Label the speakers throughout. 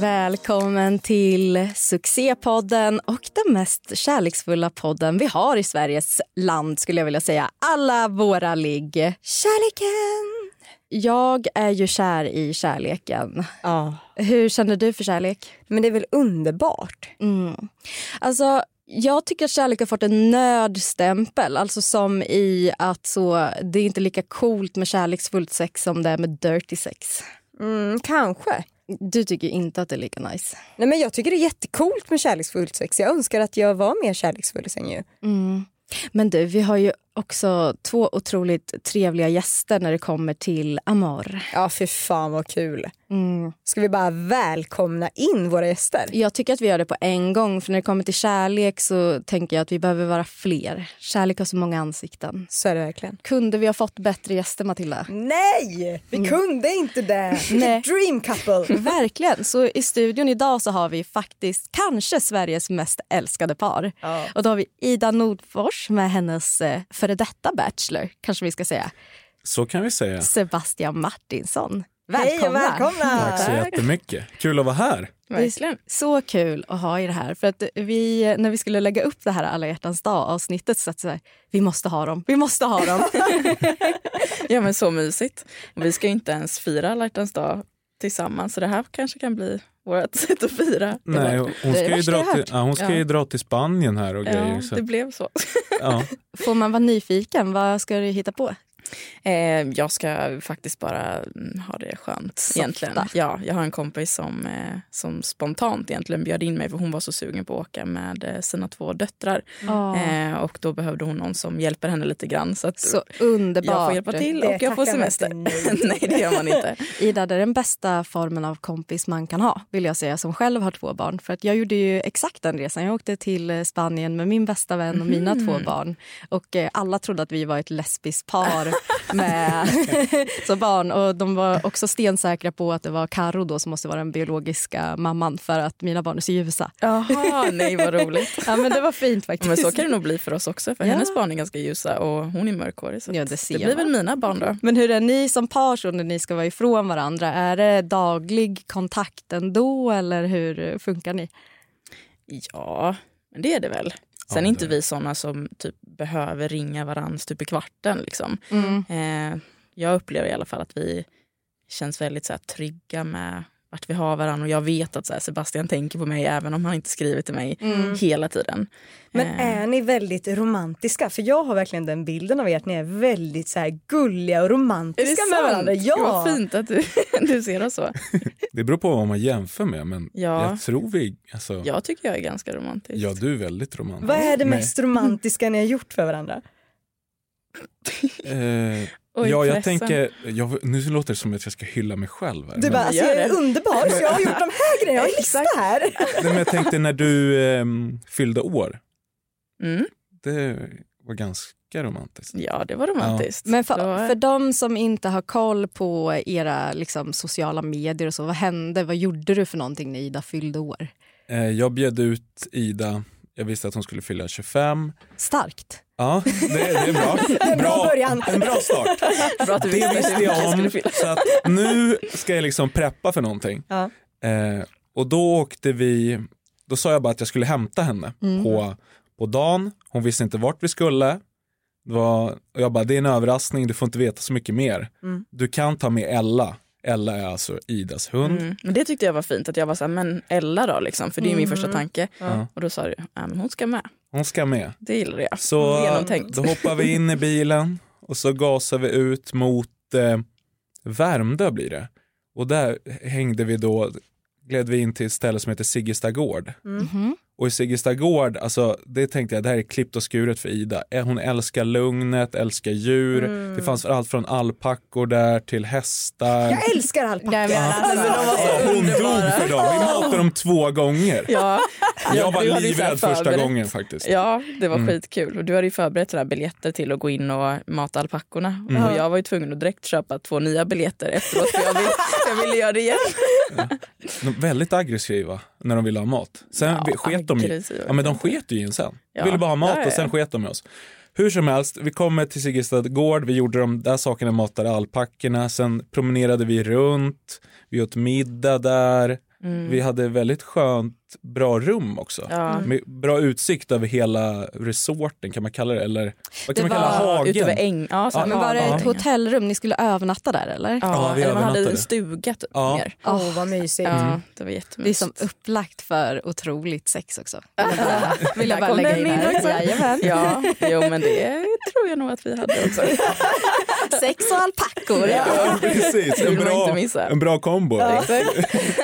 Speaker 1: Välkommen till succépodden och den mest kärleksfulla podden vi har i Sveriges land skulle jag vilja säga. Alla våra ligg. Kärleken! Jag är ju kär i kärleken.
Speaker 2: Ja.
Speaker 1: Hur känner du för kärlek?
Speaker 2: Men det är väl underbart?
Speaker 1: Mm. Alltså, jag tycker att kärlek har fått en nödstämpel, alltså som i att så, det är inte lika coolt med kärleksfullt sex som det är med dirty sex.
Speaker 2: Mm, kanske.
Speaker 1: Du tycker inte att det är lika nice.
Speaker 2: Nej, men jag tycker det är jättecoolt med kärleksfullt sex. Jag önskar att jag var mer kärleksfull sen ju.
Speaker 1: Mm. Men du, vi har ju också två otroligt trevliga gäster när det kommer till Amor.
Speaker 2: Ja, för fan vad kul.
Speaker 1: Mm.
Speaker 2: Ska vi bara välkomna in våra gäster?
Speaker 1: Jag tycker att vi gör det på en gång, för när det kommer till kärlek så tänker jag att vi behöver vara fler. Kärlek har så många ansikten.
Speaker 2: Så är det verkligen.
Speaker 1: Kunde vi ha fått bättre gäster, Matilda?
Speaker 2: Nej,
Speaker 3: Mm.
Speaker 2: vi kunde inte det.
Speaker 1: Nej.
Speaker 2: Dream couple.
Speaker 1: Verkligen. Så i studion idag så har vi faktiskt kanske Sveriges mest älskade par.
Speaker 2: Ja.
Speaker 1: Och då har vi Ida Nordfors med hennes eh, före detta bachelor, kanske vi ska säga,
Speaker 4: Så kan vi säga.
Speaker 1: Sebastian Martinsson.
Speaker 2: Hej och välkomna.
Speaker 4: Tack så jättemycket. Kul att vara här.
Speaker 1: Verkligen. Så kul att ha er här. För att vi, när vi skulle lägga upp det här alla hjärtans dag avsnittet så att så här, vi måste ha dem, vi måste ha dem.
Speaker 3: Ja men så mysigt. Och Vi ska ju inte ens fira alla hjärtans dag tillsammans så det här kanske kan bli vårt sätt att fira.
Speaker 4: Nej,
Speaker 3: Eller-
Speaker 4: hon
Speaker 3: det
Speaker 4: ska,
Speaker 3: är det
Speaker 4: ju
Speaker 3: värsta
Speaker 4: dra,
Speaker 3: jag
Speaker 4: till,
Speaker 3: hört.
Speaker 4: ja, hon ska
Speaker 3: Ja.
Speaker 4: ju dra till Spanien här och grejer.
Speaker 3: Ja,
Speaker 4: Så,
Speaker 3: det blev så.
Speaker 4: ja.
Speaker 1: Får man vara nyfiken, vad ska du hitta på?
Speaker 3: Eh, jag ska faktiskt bara mm, ha det skönt
Speaker 1: Softa.
Speaker 3: egentligen. Ja, jag har en kompis som, eh, som spontant egentligen bjöd in mig för hon var så sugen på att åka med eh, sina två döttrar.
Speaker 1: Ja.
Speaker 3: Eh, och då behövde hon någon som hjälper henne lite grann. Så att
Speaker 1: Så
Speaker 3: jag
Speaker 1: underbart.
Speaker 3: får hjälpa till
Speaker 2: Det
Speaker 3: och jag får
Speaker 2: tackar man inte
Speaker 3: semester.
Speaker 2: nej till.
Speaker 3: nej det gör man inte.
Speaker 1: Ida, det är den bästa formen av kompis man kan ha, vill jag säga, som själv har två barn. För att jag gjorde ju exakt den resan. Jag åkte till eh, Spanien med min bästa vän och mina två barn. Och eh, alla trodde att vi var ett lesbiskt par med så barn. Och de var också stensäkra på att det var Karo då som måste vara den biologiska mamman för att mina barn är så ljusa.
Speaker 3: Jaha, nej vad roligt.
Speaker 1: Ja, men det var fint faktiskt.
Speaker 3: Men så kan det nog bli för oss också, för
Speaker 1: Ja.
Speaker 3: hennes barn är ganska ljusa och hon är mörkhårig. Så
Speaker 1: Ja,
Speaker 3: att
Speaker 1: det ser
Speaker 3: det blir
Speaker 1: man.
Speaker 3: väl mina barn då.
Speaker 1: Men hur är ni som par så när ni ska vara ifrån varandra? Är det daglig kontakt ändå eller hur eh, funkar ni?
Speaker 3: Ja, men det är det väl.
Speaker 4: Ja,
Speaker 3: Sen är
Speaker 4: det
Speaker 3: inte
Speaker 4: är
Speaker 3: vi såna som typ behöver ringa varandra typ i kvarten. Liksom. Eh, jag upplever i alla fall att vi känns väldigt så här, trygga med vart vi har varandra. Och jag vet att så här, Sebastian tänker på mig även om han inte skriver till mig
Speaker 1: Mm.
Speaker 3: hela tiden.
Speaker 2: Men
Speaker 3: Eh,
Speaker 2: är ni väldigt romantiska? För jag har verkligen den bilden av er att ni är väldigt så här gulliga och
Speaker 3: är det
Speaker 2: romantiska med
Speaker 3: sant?
Speaker 2: varandra.
Speaker 3: Gud,
Speaker 2: Ja.
Speaker 3: Vad fint att du, du ser oss så.
Speaker 4: Det beror på vad man jämför med, men
Speaker 3: Ja.
Speaker 4: jag tror vi... Alltså, ja.
Speaker 3: Jag tycker jag är ganska romantisk.
Speaker 4: du är väldigt romantisk.
Speaker 2: Vad är det
Speaker 4: Nej.
Speaker 2: mest romantiska ni har gjort för varandra?
Speaker 4: Eh,
Speaker 3: Oj,
Speaker 4: ja, jag
Speaker 3: pressen.
Speaker 4: tänker... Jag, nu låter det som att jag ska hylla mig själv. Här,
Speaker 2: Du bara, alltså,
Speaker 3: gör
Speaker 2: jag är
Speaker 3: det.
Speaker 2: underbar så jag har gjort de här grejerna, jag har en lista här.
Speaker 4: Nej, men jag tänkte när du ehm, fyllde år,
Speaker 3: Mm.
Speaker 4: det var ganska romantiskt.
Speaker 3: Ja, det var romantiskt.
Speaker 1: Men för,
Speaker 3: Det var-
Speaker 1: för de som inte har koll på era liksom, sociala medier och så, vad hände? Vad gjorde du för någonting när Ida fyllde år?
Speaker 4: Eh, jag bjöd ut Ida, jag visste att hon skulle fylla 25.
Speaker 1: Starkt.
Speaker 4: Ja, det, det är bra.
Speaker 2: En bra början.
Speaker 4: En bra start.
Speaker 3: Bra att du
Speaker 4: Det
Speaker 3: visste att
Speaker 4: visste
Speaker 3: du
Speaker 4: jag
Speaker 3: kanske
Speaker 4: om,
Speaker 3: skulle fylla.
Speaker 4: så att nu ska jag liksom preppa för någonting.
Speaker 2: Ja.
Speaker 4: Eh, och då åkte vi, då sa jag bara att jag skulle hämta henne
Speaker 3: Mm.
Speaker 4: på, på dagen, hon visste inte vart vi skulle. Det var, och jag bara, det är en överraskning, du får inte veta så mycket mer.
Speaker 3: Mm.
Speaker 4: Du kan ta med Ella, Ella är alltså Idas hund.
Speaker 3: Mm. Men det tyckte jag var fint, att jag var såhär, men Ella då liksom, för det är ju min första tanke. Och då sa du, ja men hon ska med.
Speaker 4: Hon ska med.
Speaker 3: Det gillade jag.
Speaker 4: Så
Speaker 3: Genomtänkt.
Speaker 4: då hoppar vi in i bilen och så gasar vi ut mot eh, Värmdö blir det. Och där hängde vi då, gled vi in till ett ställe som heter Siggesta gård.
Speaker 3: Mm.
Speaker 4: Och i Siggesta gård, alltså, det tänkte jag, det här är klippt och skuret för Ida. Eh, Hon älskar lugnet, älskar djur.
Speaker 3: Mm.
Speaker 4: Det fanns allt från alpackor där till hästar.
Speaker 2: Jag älskar alpacka.
Speaker 1: men,
Speaker 4: Alltså, hon dog för släppte dem två gånger.
Speaker 3: Ja, ja,
Speaker 4: Jag var
Speaker 3: du hade ju så här
Speaker 4: livrädd första
Speaker 3: förberett-
Speaker 4: gången faktiskt. Mm.
Speaker 3: Ja, det var skitkul. Och du hade ju förberett sådär biljetter till att gå in och mata alpackorna.
Speaker 4: Mm.
Speaker 3: Och jag var ju tvungen att direkt köpa två nya biljetter efteråt för jag ville, jag ville göra det igen.
Speaker 4: De var väldigt aggressiva när de ville ha mat. Sen
Speaker 3: Ja,
Speaker 4: vi- sket de ju.
Speaker 3: aggressiva.
Speaker 4: Ja, men de sket ju i en sen.
Speaker 3: Ja.
Speaker 4: Ville bara ha mat
Speaker 3: Ja, ja,
Speaker 4: och sen
Speaker 3: ja.
Speaker 4: sket de i oss. Hur som helst, vi kommer till Sigistad gård, vi gjorde de där sakerna, matade alpackorna, sen promenerade vi runt, vi åt middag där, vi hade väldigt skönt, bra rum också.
Speaker 3: Mm. Ja.
Speaker 4: Med bra utsikt över hela resorten kan man kalla det, eller vad kan
Speaker 1: Det
Speaker 4: man kalla
Speaker 1: var
Speaker 4: hagen?
Speaker 3: Ut över äng. Ja, så här
Speaker 1: Men var det
Speaker 3: hagar.
Speaker 1: ett hotellrum? Ni skulle övernatta där eller?
Speaker 4: Ja,
Speaker 3: Ja,
Speaker 4: vi
Speaker 3: eller man hade en
Speaker 4: övernattade.
Speaker 3: stuga typ
Speaker 4: Ja. Mm.
Speaker 3: mer.
Speaker 2: Åh, vad mysigt.
Speaker 3: Ja, det var
Speaker 1: Det är
Speaker 3: jättemysigt.
Speaker 1: som upplagt för otroligt sex också. Vill jag bara, vill jag
Speaker 3: Där
Speaker 1: bara
Speaker 3: kom
Speaker 1: lägga
Speaker 3: den
Speaker 1: in
Speaker 3: in
Speaker 1: här.
Speaker 3: också.
Speaker 1: Jajamän.
Speaker 3: Ja, jo men det tror jag nog att vi hade också.
Speaker 1: Sex och alpackor.
Speaker 4: Ja, precis.
Speaker 3: Det
Speaker 4: En
Speaker 3: vill man
Speaker 4: bra,
Speaker 3: inte missa.
Speaker 4: en bra kombo.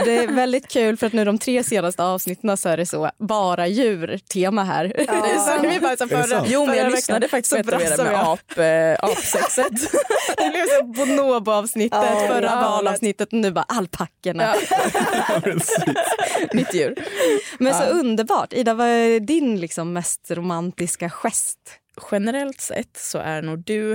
Speaker 1: Det är väldigt kul för att nu de tre senaste avsnitten så är det så bara djur-tema här. Det är så, vi bara, så
Speaker 4: det
Speaker 1: förra,
Speaker 4: sant?
Speaker 3: Jo men
Speaker 1: förra
Speaker 3: jag
Speaker 1: veckan
Speaker 3: lyssnade faktiskt på ett av era
Speaker 1: brassade
Speaker 3: med
Speaker 1: jag.
Speaker 3: ap, eh, apsexet.
Speaker 1: Det blev så bonobo-avsnittet,
Speaker 3: Ja,
Speaker 1: förra
Speaker 3: ja,
Speaker 1: valavsnittet och nu bara alpackorna.
Speaker 3: Ja.
Speaker 4: Precis.
Speaker 3: Mitt djur.
Speaker 1: Men så underbart. Ida, vad är din liksom mest romantiska gest?
Speaker 3: generellt sett så är nog du,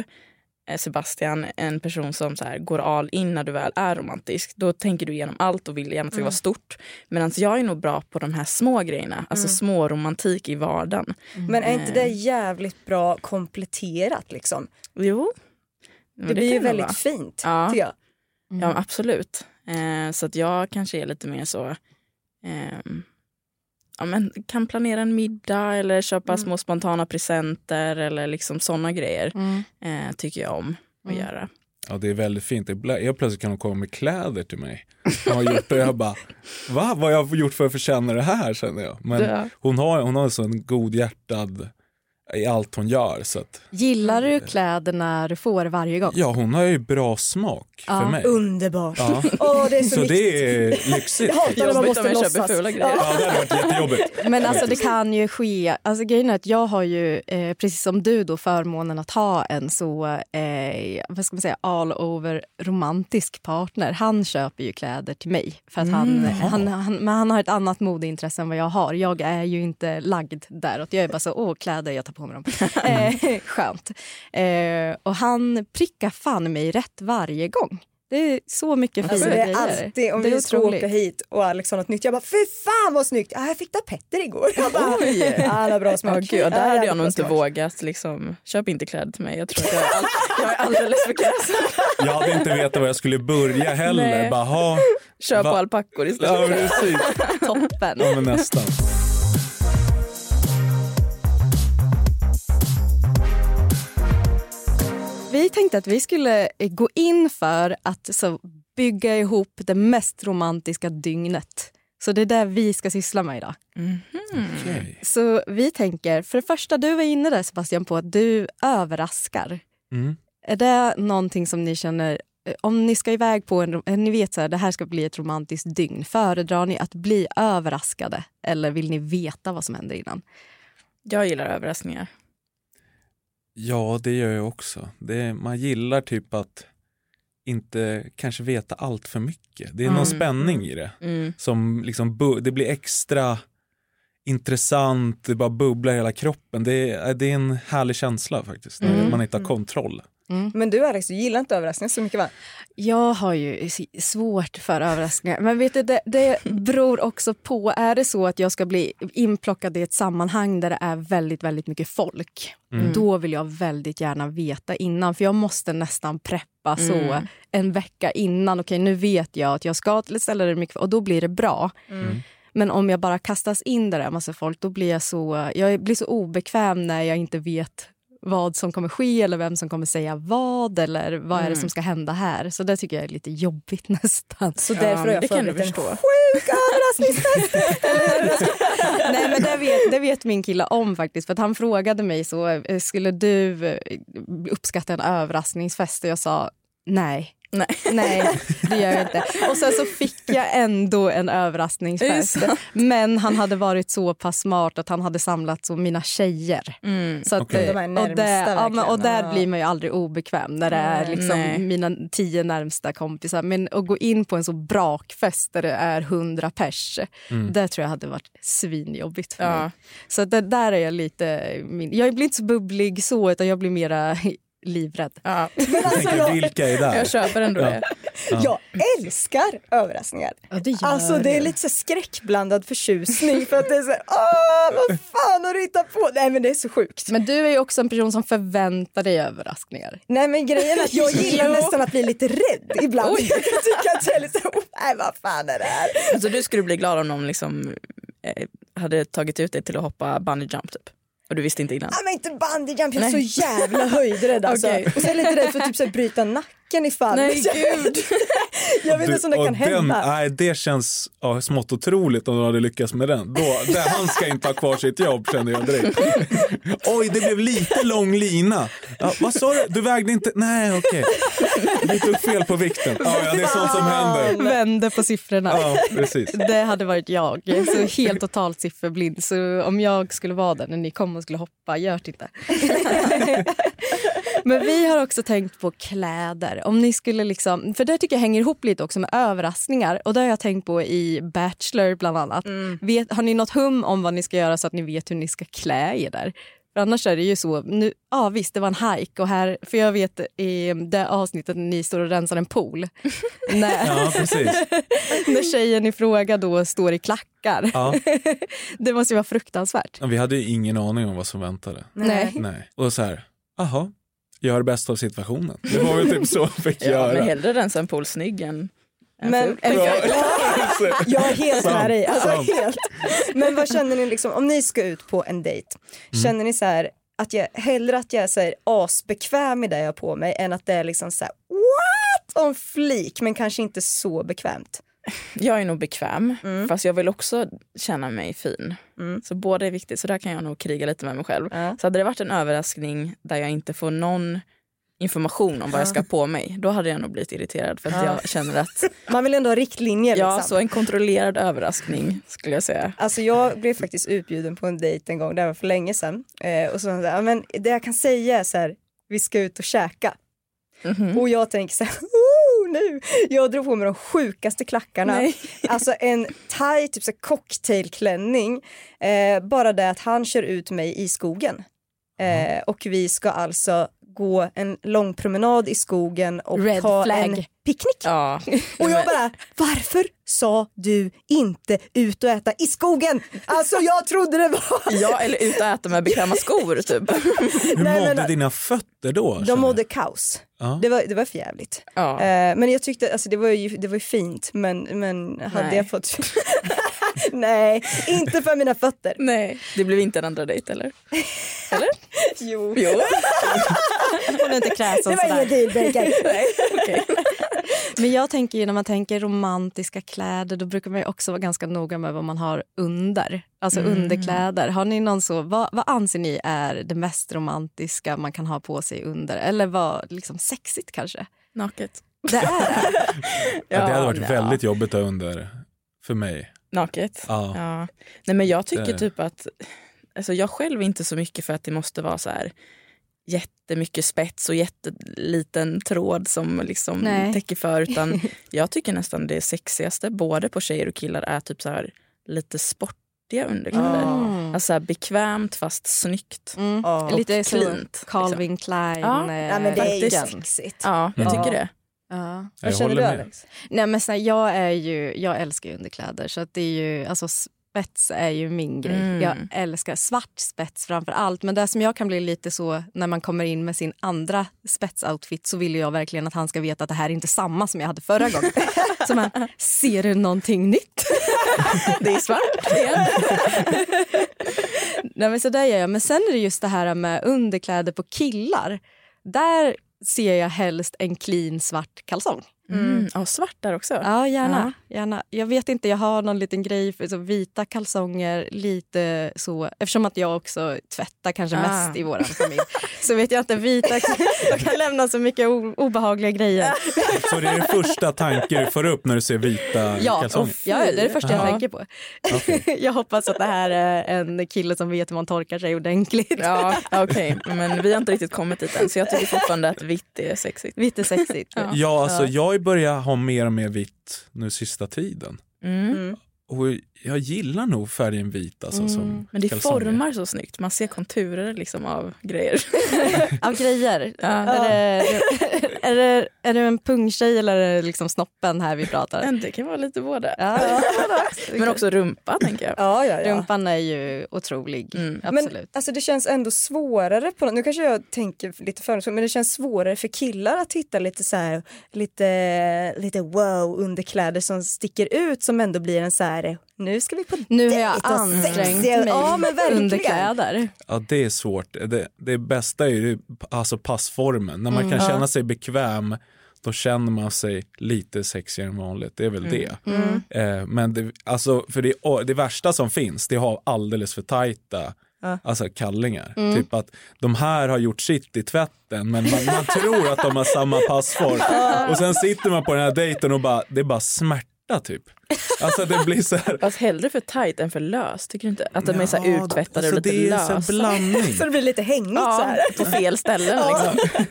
Speaker 3: eh, Sebastian, en person som så här går all in när du väl är romantisk. Då tänker du igenom allt och vill gärna att det ska vara
Speaker 1: Mm.
Speaker 3: stort. Medan jag är nog bra på de här små grejerna, alltså
Speaker 1: Mm.
Speaker 3: små romantik i vardagen.
Speaker 2: Men är inte det jävligt bra kompletterat liksom?
Speaker 3: Jo.
Speaker 2: Det,
Speaker 3: Men
Speaker 2: blir ju
Speaker 3: kan nog
Speaker 2: väldigt
Speaker 3: vara.
Speaker 2: fint
Speaker 3: Ja.
Speaker 2: tycker jag.
Speaker 3: Ja, men absolut. Eh, så att jag kanske är lite mer så... ehm, ja, men kan planera en middag eller köpa små spontana presenter eller liksom såna grejer eh, tycker jag om att göra.
Speaker 4: Ja, det är väldigt fint. Ibland- Helt plötsligt kan de komma med kläder till mig. Jag har gjort det. Jag bara, va? Vad har jag gjort för att förtjäna det här känner jag. Men
Speaker 3: Ja.
Speaker 4: hon har, hon har en sån godhjärtad i allt hon gör. Så att,
Speaker 1: Gillar du kläderna du får varje gång?
Speaker 4: ja, hon har ju bra smak för mig.
Speaker 2: Underbart. Åh,
Speaker 4: Ja.
Speaker 2: det är så,
Speaker 4: Så
Speaker 2: viktigt.
Speaker 4: det är lyxigt.
Speaker 2: hatar när man
Speaker 3: Jobbigt
Speaker 2: måste
Speaker 3: om jag köper
Speaker 2: låtsas.
Speaker 3: fula grejer.
Speaker 2: Ja.
Speaker 4: Ja, det hade varit jättejobbigt.
Speaker 1: Men alltså det kan ju ske. Alltså grejen är att jag har ju, eh, precis som du då, förmånen att ha en så, eh, vad ska man säga, all over romantisk partner. Han köper ju kläder till mig. För att han,
Speaker 2: Mm.
Speaker 1: han, han, men han har ett annat modeintresse än vad jag har. Jag är ju inte lagd däråt. Jag är bara så, åh kläder, jag tar på mig dem. Eh, skönt. Eh, och han prickar fan mig rätt varje gång. Det är så mycket fina
Speaker 2: Alltså, det är
Speaker 1: grejer.
Speaker 2: alltid om
Speaker 1: Det är
Speaker 2: vi ska
Speaker 1: otroligt.
Speaker 2: åka hit och Alex har något nytt. Jag bara, fy fan vad snyggt! Ah, jag fick det av Petter igår. Jag bara, Alla bra
Speaker 3: Ja,
Speaker 2: smak.
Speaker 3: gud, ja,
Speaker 2: Ah,
Speaker 3: där hade jag
Speaker 2: jävligt
Speaker 3: nog
Speaker 2: bra
Speaker 3: inte
Speaker 2: smak.
Speaker 3: vågat. Liksom, köp inte kläder till mig. Jag tror att jag är, all, jag är alldeles för krass.
Speaker 4: Jag hade inte vetat var jag skulle börja heller.
Speaker 3: Nej.
Speaker 4: Bara, ha.
Speaker 3: Köp
Speaker 4: Va?
Speaker 3: alpackor istället.
Speaker 4: Ja, precis.
Speaker 1: Toppen.
Speaker 4: Ja, men nästan.
Speaker 1: Vi tänkte att vi skulle eh, gå in för att så, bygga ihop det mest romantiska dygnet. Så det är det vi ska syssla med idag.
Speaker 4: Okej.
Speaker 1: Så vi tänker, för det första, du var inne där Sebastian på att du överraskar.
Speaker 4: Mm.
Speaker 1: Är det någonting som ni känner, eh, om ni ska iväg på en, eh, ni vet så här, det här ska bli ett romantiskt dygn, föredrar ni att bli överraskade eller vill ni veta vad som händer innan?
Speaker 3: Jag gillar överraskningar.
Speaker 4: Ja, det gör jag också. Det, man gillar typ att inte kanske veta allt för mycket. Det är någon spänning i det. Som liksom, bu- det blir extra intressant, det bara bubblar i hela kroppen. Det är, det är en härlig känsla faktiskt, när man inte har kontroll.
Speaker 2: Men du Alex, du gillar inte överraskningar så mycket va?
Speaker 1: Jag har ju s- svårt för överraskningar. Men vet du, det, det beror också på. Är det så att jag ska bli inplockad i ett sammanhang där det är väldigt, väldigt mycket folk, då vill jag väldigt gärna veta innan. För jag måste nästan preppa så en vecka innan. Okej, nu vet jag att jag ska till ett ställe där det är mycket och då blir det bra. Men om jag bara kastas in där det är massa folk, då blir jag så, jag blir så obekväm när jag inte vet vad som kommer ske eller vem som kommer säga vad eller vad är det
Speaker 2: Mm.
Speaker 1: som ska hända här. Så det tycker jag är lite jobbigt nästan.
Speaker 2: Så därför har
Speaker 3: men
Speaker 2: jag
Speaker 3: det kan du
Speaker 2: förberett en
Speaker 3: förstå.
Speaker 2: sjuk överraskningsfest.
Speaker 1: Nej men det vet, det vet min kille om faktiskt. För att han frågade mig så, eh, skulle du eh, uppskatta en överraskningsfest? Och jag sa nej.
Speaker 3: Nej.
Speaker 1: Nej, det gör jag inte. Och sen så fick jag ändå en
Speaker 3: Är det
Speaker 1: överraskningsfest.
Speaker 3: sant?
Speaker 1: Men han hade varit så pass smart att han hade samlat så mina tjejer.
Speaker 3: Mm,
Speaker 1: Så att, eh,
Speaker 4: Okej.
Speaker 2: De här
Speaker 1: och,
Speaker 2: närmsta
Speaker 1: det, ja, men, och
Speaker 2: verkligen.
Speaker 1: där
Speaker 2: Ja.
Speaker 1: blir man ju aldrig obekväm när det är liksom
Speaker 3: Nej.
Speaker 1: mina tio närmsta kompisar. Men att gå in på en så brakfest där det är hundra pers,
Speaker 2: Mm.
Speaker 1: det tror jag hade varit svinjobbigt för
Speaker 3: Ja.
Speaker 1: mig. Så att det, där är jag lite... Min, jag blir inte så bubblig så, utan jag blir mera livrädd.
Speaker 3: Ja.
Speaker 4: Tänker, vilka är där?
Speaker 3: Jag köper ändå det.
Speaker 2: Jag älskar överraskningar.
Speaker 1: Ja, det gör
Speaker 2: Alltså det är
Speaker 1: jag.
Speaker 2: lite så skräckblandad förtjusning för att det är så här, åh vad fan har du hittat på? Nej men det är så sjukt.
Speaker 1: Men du är ju också en person som förväntar dig överraskningar.
Speaker 2: Nej men grejen är att jag gillar nästan att bli lite rädd ibland. Jag kan tycka att jag är lite, oh, nej vad fan är det här?
Speaker 3: Alltså, du skulle bli glad om någon liksom, eh, hade tagit ut dig till att hoppa bungee jump typ. Och du visste inte innan.
Speaker 2: Ja men inte bungyjump, jag är så jävla höjdrädd alltså.
Speaker 3: Okej.
Speaker 2: Och så är jag lite rädd för att typ så här, bryta nacken ifall.
Speaker 3: Nej,
Speaker 2: jag,
Speaker 3: gud.
Speaker 2: jag vet inte ens om det
Speaker 4: och
Speaker 2: kan
Speaker 4: den,
Speaker 2: hända.
Speaker 4: Nej, det känns ja, smått otroligt om du hade lyckats med den. Då, det, han ska inte ha kvar sitt jobb känner jag direkt. Oj, det blev lite lång lina. Ja, vad sa du? Du vägde inte? Nej, okej. Du tog fel på vikten. Ja, ja, det är sånt som händer.
Speaker 1: Vände på siffrorna.
Speaker 4: Ja, precis.
Speaker 1: Det hade varit jag. Så helt totalt sifferblind. Så om jag skulle vara där när ni kom och skulle hoppa, gör det inte. Men vi har också tänkt på kläder. Om ni skulle liksom, för det tycker jag hänger ihop lite också med överraskningar. Och det har jag tänkt på i Bachelor bland annat.
Speaker 4: Mm.
Speaker 1: Vet, har ni något hum om vad ni ska göra så att ni vet hur ni ska klä er där? För annars är det ju så, nu, ja visst det var en hike och här, för jag vet i det avsnittet när ni står och rensar en pool. när,
Speaker 4: Ja, precis.
Speaker 1: när tjejen i fråga då står i klackar.
Speaker 4: Ja.
Speaker 1: Det måste ju vara fruktansvärt.
Speaker 4: Ja, Vi hade ju ingen aning om vad som väntade.
Speaker 1: Nej.
Speaker 4: Nej. Och så här, aha, gör det bästa av situationen. Det var väl typ så jag fick
Speaker 3: Ja, men
Speaker 4: göra.
Speaker 3: hellre rensa en pool snygg än än
Speaker 2: Men-
Speaker 3: ful.
Speaker 4: Ja,
Speaker 2: Jag är helt
Speaker 4: Sant,
Speaker 2: med dig. Alltså,
Speaker 4: sant.
Speaker 2: helt. Men vad känner ni liksom, om ni ska ut på en dejt,
Speaker 4: Mm.
Speaker 2: känner ni så här att jag hellre att jag är så här asbekväm i det jag har på mig än att det är liksom så här what on flik men kanske inte så bekvämt.
Speaker 3: Jag är nog bekväm,
Speaker 2: Mm.
Speaker 3: fast jag vill också känna mig fin. Så båda är viktigt, så där kan jag nog kriga lite med mig själv.
Speaker 2: Ja.
Speaker 3: Så hade det varit en överraskning där jag inte får någon information om vad jag ska ha på mig, då hade jag nog blivit irriterad för att jag känner att,
Speaker 2: Man vill ändå ha riktlinjer
Speaker 3: ja
Speaker 2: liksom.
Speaker 3: så en kontrollerad överraskning skulle jag säga.
Speaker 2: Alltså jag blev faktiskt utbjuden på en dejt en gång, det här var för länge sedan. Eh, och så sa han så här, "Ja, men det jag kan säga är så här, vi ska ut och käka.
Speaker 1: Mhm.
Speaker 2: Och jag tänker så här, oh, nu! Jag drog på mig de sjukaste klackarna.
Speaker 3: Nej.
Speaker 2: Alltså en thai typ så här cocktailklänning. Eh, bara det att han kör ut mig i skogen.
Speaker 1: Mhm.
Speaker 2: Eh, och vi ska alltså gå en lång promenad i skogen och
Speaker 1: Red
Speaker 2: ha
Speaker 1: flag.
Speaker 2: en picknick.
Speaker 3: Ja.
Speaker 2: Och jag bara, varför sa du inte ut och äta i skogen? Alltså jag trodde det var...
Speaker 3: Ja, eller ut och äta med bekväma skor typ.
Speaker 4: Hur
Speaker 2: Nej,
Speaker 4: mådde
Speaker 2: men-
Speaker 4: dina fötter då? känner
Speaker 2: De
Speaker 4: jag?
Speaker 2: mådde kaos.
Speaker 4: Ja.
Speaker 2: Det var, det var för jävligt.
Speaker 3: Ja.
Speaker 2: Eh, men jag tyckte, alltså det var ju, det var ju fint men, men hade
Speaker 3: Nej.
Speaker 2: jag fått... Nej, inte för mina fötter.
Speaker 3: Nej. Det blev inte en andra dejt eller? Eller?
Speaker 2: Jo.
Speaker 3: Jo. alltså,
Speaker 1: Hon är inte
Speaker 2: Det
Speaker 1: kräsen
Speaker 2: var ingen
Speaker 1: sådär.
Speaker 2: dealbreaker.
Speaker 3: Nej, okej.
Speaker 1: Men jag tänker ju när man tänker romantiska kläder då brukar man ju också vara ganska noga med vad man har under. Alltså
Speaker 2: Mm.
Speaker 1: underkläder. Har ni någon så, vad, vad anser ni är det mest romantiska man kan ha på sig under? Eller vad liksom sexigt kanske?
Speaker 3: Naket.
Speaker 1: Det är det.
Speaker 4: Ja, det hade
Speaker 3: Ja,
Speaker 4: varit
Speaker 3: nja.
Speaker 4: väldigt jobbigt där under för mig.
Speaker 3: Naket?
Speaker 4: Ja. Eh.
Speaker 3: Nej men jag tycker
Speaker 4: Det-
Speaker 3: typ att, alltså jag själv är inte så mycket för att det måste vara så här jättemycket spets och jätteliten tråd som liksom
Speaker 1: Nej.
Speaker 3: täcker för utan jag tycker nästan det sexigaste både på tjejer och killar är typ så här lite sportiga underkläder.
Speaker 1: Mm.
Speaker 3: Alltså så här bekvämt fast snyggt.
Speaker 1: Mm.
Speaker 2: Ja.
Speaker 1: Lite så
Speaker 3: cleant,
Speaker 1: Calvin Klein.
Speaker 3: Ja.
Speaker 1: eh,
Speaker 2: Nej, men det är ju
Speaker 1: facken.
Speaker 2: sexigt.
Speaker 3: Ja, jag
Speaker 4: Mm.
Speaker 3: tycker det.
Speaker 1: Ja.
Speaker 4: Jag
Speaker 2: Vad känner
Speaker 4: håller
Speaker 2: du
Speaker 4: med.
Speaker 2: Alex?
Speaker 1: Nej, men såna, jag, är ju, jag älskar ju underkläder, så att det är ju, alltså, spets är ju min grej.
Speaker 3: Mm.
Speaker 1: Jag älskar svart spets framför allt. Men det som jag kan bli lite så när man kommer in med sin andra spetsoutfit så vill ju jag verkligen att han ska veta att det här är inte samma som jag hade förra gången. så man, ser du någonting nytt?
Speaker 3: Det är svart igen.
Speaker 1: Nej, men så där gör jag. Men sen är det just det här med underkläder på killar. Där ser jag helst en clean svart kalsong.
Speaker 3: Mm. Ja, svart där också.
Speaker 1: Ja, gärna. gärna. Jag vet inte, jag har någon liten grej för så vita kalsonger. lite så. Eftersom att jag också tvättar kanske
Speaker 3: Ah.
Speaker 1: mest i vår familj så vet jag inte. Vita de kan lämna så mycket o- obehagliga grejer.
Speaker 4: Så det är den första tanken du får upp när du ser vita
Speaker 1: Ja, och,
Speaker 4: kalsonger?
Speaker 1: ja, det är det första jag
Speaker 4: Ja.
Speaker 1: tänker på. jag hoppas att det här är en kille som vet hur man torkar sig ordentligt.
Speaker 3: Ja, okej. Men vi har inte riktigt kommit dit än så jag tycker fortfarande att vitt är sexigt.
Speaker 1: Vitt är sexigt.
Speaker 3: Ja.
Speaker 4: Ja, alltså jag börjar ha mer och mer vitt nu sista tiden.
Speaker 3: Mm.
Speaker 4: Och jag gillar nog färgen vit alltså som
Speaker 3: Men det
Speaker 4: kalsonger.
Speaker 3: formar så snyggt. Man ser konturer liksom av grejer.
Speaker 1: Av grejer.
Speaker 3: Ja,
Speaker 1: Är, det, är, det, är det en pungtjej eller är det liksom snoppen här vi pratar?
Speaker 3: men det kan vara lite både.
Speaker 1: Ja,
Speaker 3: Men också rumpa tänker jag.
Speaker 2: Ja, ja, ja.
Speaker 1: Rumpan är ju otrolig.
Speaker 3: Mm.
Speaker 2: Men
Speaker 1: Absolut.
Speaker 2: alltså, det känns ändå svårare, på, nu kanske jag tänker lite fördomsfullt, men det känns svårare för killar att hitta lite så här, lite, lite wow underkläder som sticker ut som ändå blir en så här, nu ska vi på
Speaker 1: nu har jag
Speaker 2: dejt och
Speaker 1: ansträngt
Speaker 2: sexiga-
Speaker 1: mig
Speaker 2: Ja, men verkligen.
Speaker 1: under kläder.
Speaker 4: Ja, det är svårt. Det, det bästa är ju alltså passformen. När
Speaker 3: Mm.
Speaker 4: man kan känna sig bekväm, då känner man sig lite sexigare än vanligt. Det är
Speaker 3: Mm.
Speaker 4: väl det. Eh, men det, alltså, för det, och det värsta som finns, det har alldeles för tajta Alltså kallingar.
Speaker 3: Mm.
Speaker 4: Typ att de här har gjort sitt i tvätten men man, man tror att de har samma passform. Och sen sitter man på den här dejten och bara, det är bara smärta typ. Alltså det blir så här.
Speaker 3: Fast hellre för tight än för löst, tycker du inte? Att de är så
Speaker 4: Ja,
Speaker 3: här uttvättade
Speaker 4: alltså,
Speaker 3: och lite
Speaker 4: det är så här
Speaker 3: lösa.
Speaker 4: blandning.
Speaker 2: Så det blir lite hängigt så här.
Speaker 3: Ja, på fel ställen liksom.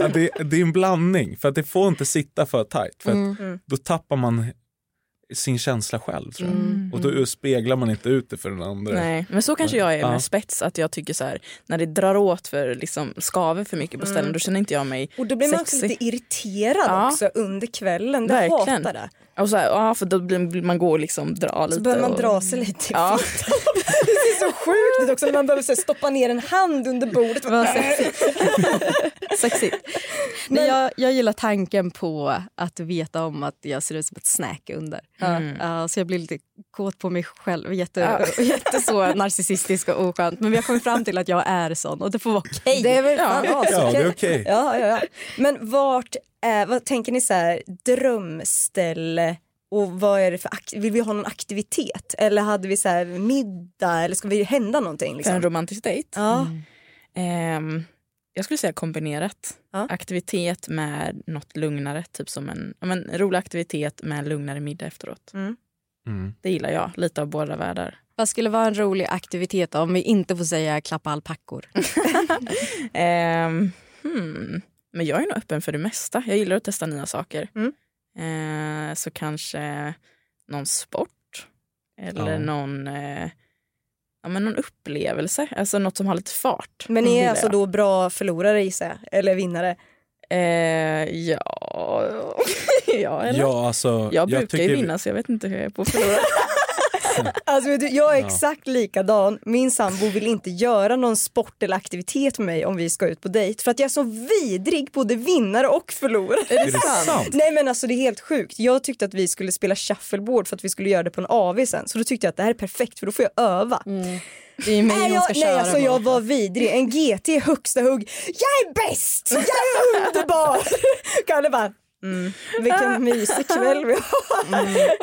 Speaker 4: Ja, det, det är en blandning, för att det får inte sitta för tajt. För
Speaker 3: Mm.
Speaker 4: att Då tappar man sin känsla själv tror jag. Och då speglar man inte ut det för den andra.
Speaker 3: Mm. Nej, men så kanske jag är
Speaker 4: Ja.
Speaker 3: med spets, att jag tycker så här, när det drar åt för liksom skaver för mycket på ställen, Mm. då känner inte jag mig
Speaker 2: Och då blir man också
Speaker 3: sexig.
Speaker 2: lite irriterad
Speaker 3: Ja.
Speaker 2: också under kvällen. Det
Speaker 3: Verkligen.
Speaker 2: hatar det.
Speaker 3: Och så här, ja, för då blir vill man gå och liksom dra
Speaker 2: Så
Speaker 3: lite.
Speaker 2: behöver man
Speaker 3: och...
Speaker 2: dra sig lite i
Speaker 3: Ja.
Speaker 2: fittan. Det är så sjukt ut också. Man behöver så här, stoppa ner en hand under bordet.
Speaker 1: Vad sexigt. sexigt. Nej, jag, jag gillar tanken på att veta om att jag ser ut som ett snack under. Mm. Ja, så jag blir lite kåt på mig själv. Jätte, jätte så narcissistisk och oskönt. Men vi har kommit fram till att jag är sån och det får vara okej.
Speaker 2: Det är väl fan
Speaker 4: Ja, det är
Speaker 2: asokej.
Speaker 4: okej.
Speaker 2: Ja, ja, ja. Men vart är, vad tänker ni så här, drömställe och vad är det för, ak- vill vi ha någon aktivitet eller hade vi så här middag eller ska vi hända någonting?
Speaker 3: För en
Speaker 2: Liksom?
Speaker 3: romantisk dejt.
Speaker 2: Ja,
Speaker 3: Ehm, jag skulle säga kombinerat.
Speaker 2: Ja.
Speaker 3: Aktivitet med något lugnare, typ som en, ja, men, rolig aktivitet med en lugnare middag efteråt.
Speaker 4: Mm.
Speaker 3: Det gillar jag, lite av båda världar.
Speaker 1: Vad skulle vara en rolig aktivitet om vi inte får säga klappa alpackor?
Speaker 3: Ehm, hmm. Men jag är nog öppen för det mesta. Jag gillar att testa nya saker.
Speaker 2: Mm.
Speaker 3: Ehm, så kanske någon sport eller
Speaker 4: Ja.
Speaker 3: någon, eh, ja, men någon upplevelse, alltså något som har lite fart.
Speaker 2: men ni
Speaker 3: gillar
Speaker 2: är
Speaker 3: jag.
Speaker 2: alltså då bra förlorare gissar jag, eller vinnare.
Speaker 3: Eh, ja, ja, eller?
Speaker 4: Ja, alltså,
Speaker 3: Jag brukar
Speaker 4: tycker-
Speaker 3: ju vinna så jag vet inte hur jag är på att förlora.
Speaker 2: Alltså, vet du, jag är
Speaker 4: Ja.
Speaker 2: exakt likadan. Min sambo vill inte göra någon sport eller aktivitet med mig om vi ska ut på dejt för att jag är så vidrig både vinnare och förlorare.
Speaker 4: Är det sant?
Speaker 2: Nej men alltså det är helt sjukt. Jag tyckte att vi skulle spela shuffleboard för att vi skulle göra det på en AV sen. Så då tyckte jag att det här är perfekt för då får jag öva.
Speaker 1: Mm. Det är ju mig
Speaker 2: Nej,
Speaker 1: hon
Speaker 2: jag,
Speaker 1: ska
Speaker 2: nej
Speaker 1: köra
Speaker 2: alltså
Speaker 1: mot.
Speaker 2: jag var vidrig. En GT i högsta hugg. Jag är bäst! Jag är underbar! Kalle bara Mm.
Speaker 1: Ah."
Speaker 2: Vilken mysig kväll vi har.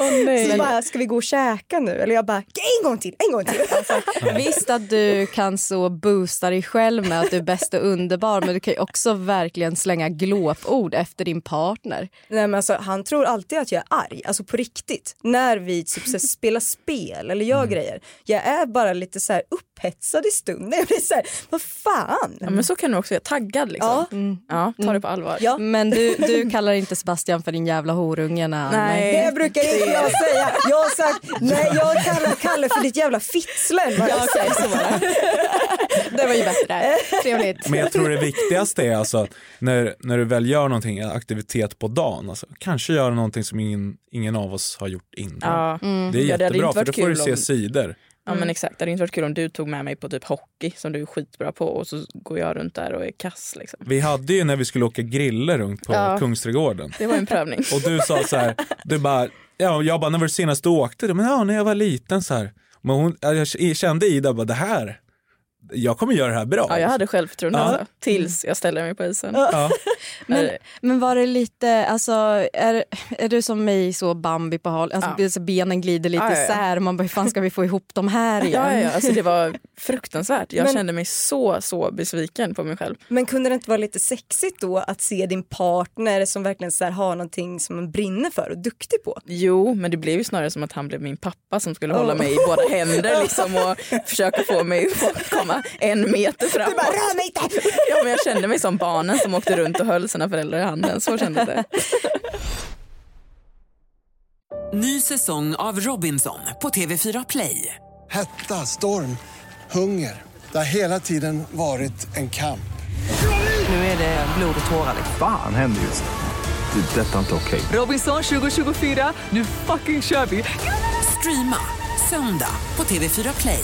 Speaker 1: Mm.
Speaker 2: Så bara, ska vi gå och käka nu? Eller jag bara, en gång till, en gång till.
Speaker 1: Alltså, Visst att du kan så boosta dig själv med att du är bäst och underbar men du kan ju också verkligen slänga glåpord efter din partner.
Speaker 2: Nej, men alltså, han tror alltid att jag är arg, alltså på riktigt. När vi typ, så här, spelar spel eller
Speaker 3: Mm.
Speaker 2: gör grejer. Jag är bara lite så här, upphetsad i stunden. Jag blir så här, vad fan?
Speaker 3: Ja, men så kan du också göra, taggad liksom.
Speaker 2: Ja.
Speaker 3: Ja, ta det på allvar.
Speaker 2: Ja.
Speaker 1: Men du, du kallar inte Sebastian för din jävla horunge när han...
Speaker 3: Nej.
Speaker 2: Det brukar inte jag säga. Jag har sagt, nej jag kallar Kalle för ditt jävla fittslen. har jag
Speaker 1: Ja, okej, så var det. Det var ju bättre. Trevligt.
Speaker 4: Men jag tror det viktigaste är alltså att när, när du väl gör någonting, en aktivitet på dagen, alltså, kanske göra någonting som ingen, ingen av oss har gjort innan.
Speaker 3: Ja. Mm.
Speaker 4: Det är
Speaker 3: Ja, det hade
Speaker 4: jättebra,
Speaker 3: inte
Speaker 4: för
Speaker 3: varit
Speaker 4: då får du
Speaker 3: kul
Speaker 4: se
Speaker 3: om-
Speaker 4: sidor.
Speaker 3: ja men exakt, det hade inte varit kul om du tog med mig på typ hockey som du är skitbra på och så går jag runt där och är kass liksom.
Speaker 4: Vi hade ju när vi skulle åka griller runt på
Speaker 3: Ja.
Speaker 4: Kungsträdgården.
Speaker 3: Det var en prövning.
Speaker 4: Och du sa så här, du bara, ja, jag bara, när var det senast du åkte? Men ja, när jag var liten så här. Men hon, jag kände Ida bara, det här, jag kommer göra det här bra.
Speaker 3: Ja, jag hade självförtroende
Speaker 4: Ja.
Speaker 3: alltså, tills jag ställde mig på isen.
Speaker 4: Ja.
Speaker 1: Men,
Speaker 3: Eller-
Speaker 1: men var det lite, alltså är, är du som mig så Bambi på hal, alltså,
Speaker 3: Ja.
Speaker 1: så benen glider lite
Speaker 3: Ja, ja, ja.
Speaker 1: isär och man bara hur fan ska vi få ihop de här igen?
Speaker 3: Ja, ja, ja, alltså det var fruktansvärt. Jag
Speaker 2: Men-
Speaker 3: kände mig så, så besviken på mig själv.
Speaker 2: Men kunde det inte vara lite sexigt då att se din partner som verkligen så här, har någonting som man brinner för och duktig på?
Speaker 3: Jo, men det blev ju snarare som att han blev min pappa som skulle hålla mig i båda händer liksom, och försöka få mig att komma en meter framåt.
Speaker 2: "Rör mig inte!"
Speaker 3: Ja, men jag kände mig som barnen som åkte runt och höll sina föräldrar i handen. Så kändes det.
Speaker 5: Ny säsong av Robinson på TV4 Play.
Speaker 6: Hetta, storm, hunger. Det har hela tiden varit en kamp.
Speaker 5: Nu är det blod och tårar.
Speaker 7: Fan händer just nu. Det. är Detta är inte okej.
Speaker 5: Robinson 2024, nu fucking kör vi! Streama söndag på TV4 Play.